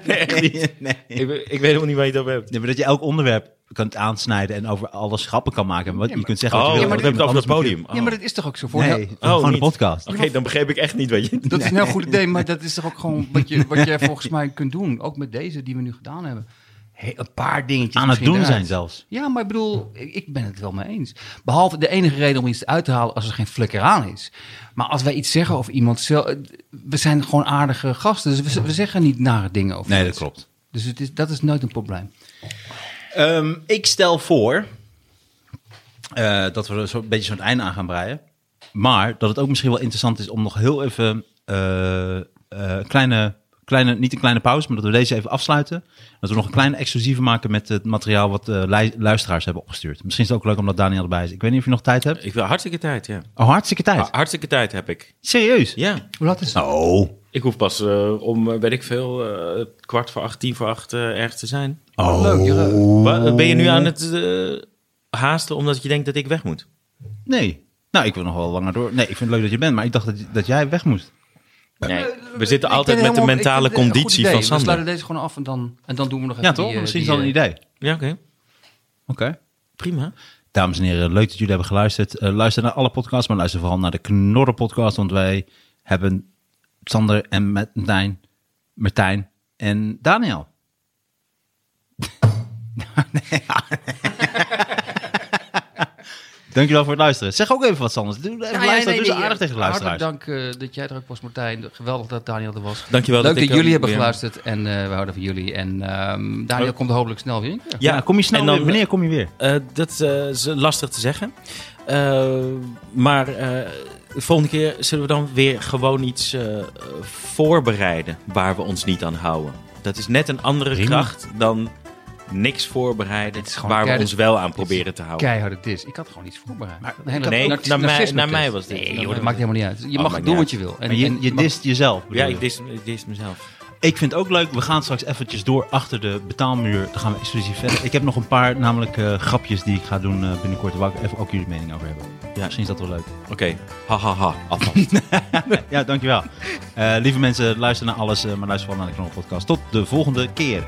[SPEAKER 2] Nee. nee.
[SPEAKER 3] ik, weet- ik weet helemaal niet waar je het over hebt.
[SPEAKER 2] maar dat je elk onderwerp kunt aansnijden en over alles grappen kan maken. Want je kunt zeggen
[SPEAKER 3] Oh,
[SPEAKER 2] wat je
[SPEAKER 3] we
[SPEAKER 2] wil.
[SPEAKER 3] hebben het over het podium. Ah,
[SPEAKER 4] Ja, maar dat is toch ook zo voor Nou,
[SPEAKER 2] Nee,
[SPEAKER 4] heel-
[SPEAKER 2] gewoon een
[SPEAKER 3] niet.
[SPEAKER 2] podcast.
[SPEAKER 3] Oké, dan begreep ik echt niet wat je...
[SPEAKER 4] Dat is een heel goed idee, maar dat is toch ook gewoon wat je, wat je volgens mij kunt doen. Ook met deze die we nu gedaan hebben. He- een paar dingetjes.
[SPEAKER 2] Aan het
[SPEAKER 4] misschien
[SPEAKER 2] doen zijn
[SPEAKER 4] eruit.
[SPEAKER 2] zelfs.
[SPEAKER 4] Ja, maar ik bedoel, ik ik ben het wel mee eens. Behalve de enige reden om iets uit te halen als er geen flikker aan is. Maar als wij iets zeggen of iemand zelf... We zijn gewoon aardige gasten, dus we, z- we zeggen niet nare dingen over
[SPEAKER 2] Nee, dat
[SPEAKER 4] mensen.
[SPEAKER 2] klopt.
[SPEAKER 4] Dus het is, dat is nooit een probleem.
[SPEAKER 2] Ehm, ik stel voor eh, dat we er zo een beetje zo'n einde aan gaan breien. Maar dat het ook misschien wel interessant is om nog heel even eh, eh, een kleine, kleine, niet een kleine pauze, maar dat we deze even afsluiten. Dat we nog een kleine exclusieve maken met het materiaal wat eh, lui- luisteraars hebben opgestuurd. Misschien is het ook leuk omdat Daniel erbij is. Ik weet niet of je nog tijd hebt.
[SPEAKER 3] Ik wil hartstikke tijd, ja.
[SPEAKER 2] Oh, hartstikke tijd.
[SPEAKER 3] Ah, Hartstikke tijd heb ik.
[SPEAKER 2] Serieus?
[SPEAKER 3] Ja.
[SPEAKER 4] Hoe laat is het?
[SPEAKER 2] Oh,
[SPEAKER 3] Ik hoef pas eh, om, eh, weet ik veel, eh, kwart voor acht, tien voor acht eh, ergens te zijn.
[SPEAKER 2] oh.
[SPEAKER 3] Wa- Ben je nu aan het eh, haasten omdat je denkt dat ik weg moet?
[SPEAKER 2] Nee. Nou, ik wil nog wel langer door. Nee, ik vind het leuk dat je bent, maar ik dacht dat, dat jij weg moest.
[SPEAKER 3] Nee, we zitten altijd met de mentale conditie van
[SPEAKER 4] We sluiten
[SPEAKER 3] Sander.
[SPEAKER 4] deze gewoon af en dan, en dan doen we nog even
[SPEAKER 2] Ja, toch?
[SPEAKER 4] die, eh,
[SPEAKER 2] Misschien is
[SPEAKER 4] die,
[SPEAKER 2] dat een
[SPEAKER 4] eh,
[SPEAKER 2] idee. Oké.
[SPEAKER 3] Ja, oké. Prima.
[SPEAKER 2] Dames en heren, leuk dat jullie hebben geluisterd. Eh, luister naar alle podcasts, maar luister vooral naar de Knorren podcast. Want wij hebben Sander en Martijn, Martijn en Daniel. Nee. Dankjewel voor het luisteren. Zeg ook even wat, Sander. Doe even
[SPEAKER 4] Nou Ja,
[SPEAKER 2] luisteren.
[SPEAKER 4] ja, nee,
[SPEAKER 2] Doe
[SPEAKER 3] dus
[SPEAKER 2] eens
[SPEAKER 4] nee,
[SPEAKER 2] aardig tegen de
[SPEAKER 4] Hartelijk
[SPEAKER 2] luisteraars.
[SPEAKER 4] dank eh, dat jij er ook was, Martijn. Geweldig dat Daniel er was.
[SPEAKER 3] Dankjewel
[SPEAKER 4] Leuk
[SPEAKER 3] dat
[SPEAKER 4] dat,
[SPEAKER 3] ik, eh,
[SPEAKER 4] jullie hebben
[SPEAKER 3] weer-
[SPEAKER 4] geluisterd en eh, we houden van jullie. En ehm, Daniel komt hopelijk snel weer. in.
[SPEAKER 2] Ja, kom je snel
[SPEAKER 3] en dan-
[SPEAKER 2] weer. Wanneer kom je weer?
[SPEAKER 3] Eh, dat eh, is lastig te zeggen. Eh, maar eh, de volgende keer zullen we dan weer gewoon iets eh, eh, voorbereiden waar we ons niet aan houden. Dat is net een andere
[SPEAKER 2] Prima.
[SPEAKER 3] kracht dan niks voorbereiden
[SPEAKER 4] Dit is gewoon
[SPEAKER 3] waar we
[SPEAKER 4] keiharde-
[SPEAKER 3] ons wel aan
[SPEAKER 4] dit is
[SPEAKER 3] proberen te houden.
[SPEAKER 4] Keiharde dis. Ik had gewoon iets voorbereid.
[SPEAKER 2] Maar-
[SPEAKER 4] Een hele
[SPEAKER 3] Nee,
[SPEAKER 4] nar-
[SPEAKER 3] naar mij-
[SPEAKER 4] narcisme
[SPEAKER 3] naar mij
[SPEAKER 4] test.
[SPEAKER 3] was dit.
[SPEAKER 4] Nee
[SPEAKER 3] Naar
[SPEAKER 4] joh,
[SPEAKER 3] mij
[SPEAKER 4] dat
[SPEAKER 3] was
[SPEAKER 4] maakt helemaal niet uit. Je
[SPEAKER 3] Oh,
[SPEAKER 4] mag
[SPEAKER 3] maakt
[SPEAKER 4] doen
[SPEAKER 3] niet
[SPEAKER 4] wat je wil. En,
[SPEAKER 2] Maar je,
[SPEAKER 4] en-
[SPEAKER 2] je
[SPEAKER 4] mag-
[SPEAKER 2] dist jezelf.
[SPEAKER 3] Ja,
[SPEAKER 2] bedoel je?
[SPEAKER 3] ik dis, ik dis mezelf.
[SPEAKER 2] Ik vind het ook leuk. We gaan straks eventjes door achter de betaalmuur. Dan gaan we exclusief verder. Ik heb nog een paar namelijk eh, grapjes die ik ga doen eh, binnenkort. Waar ik even ook jullie mening over hebben. Ja. Misschien is dat wel leuk.
[SPEAKER 3] Oké, ha ha ha, alvast.
[SPEAKER 2] Ja, dankjewel. Eh lieve mensen, luister naar alles. eh, maar luister vooral naar de Knol Podcast. Tot de volgende keer.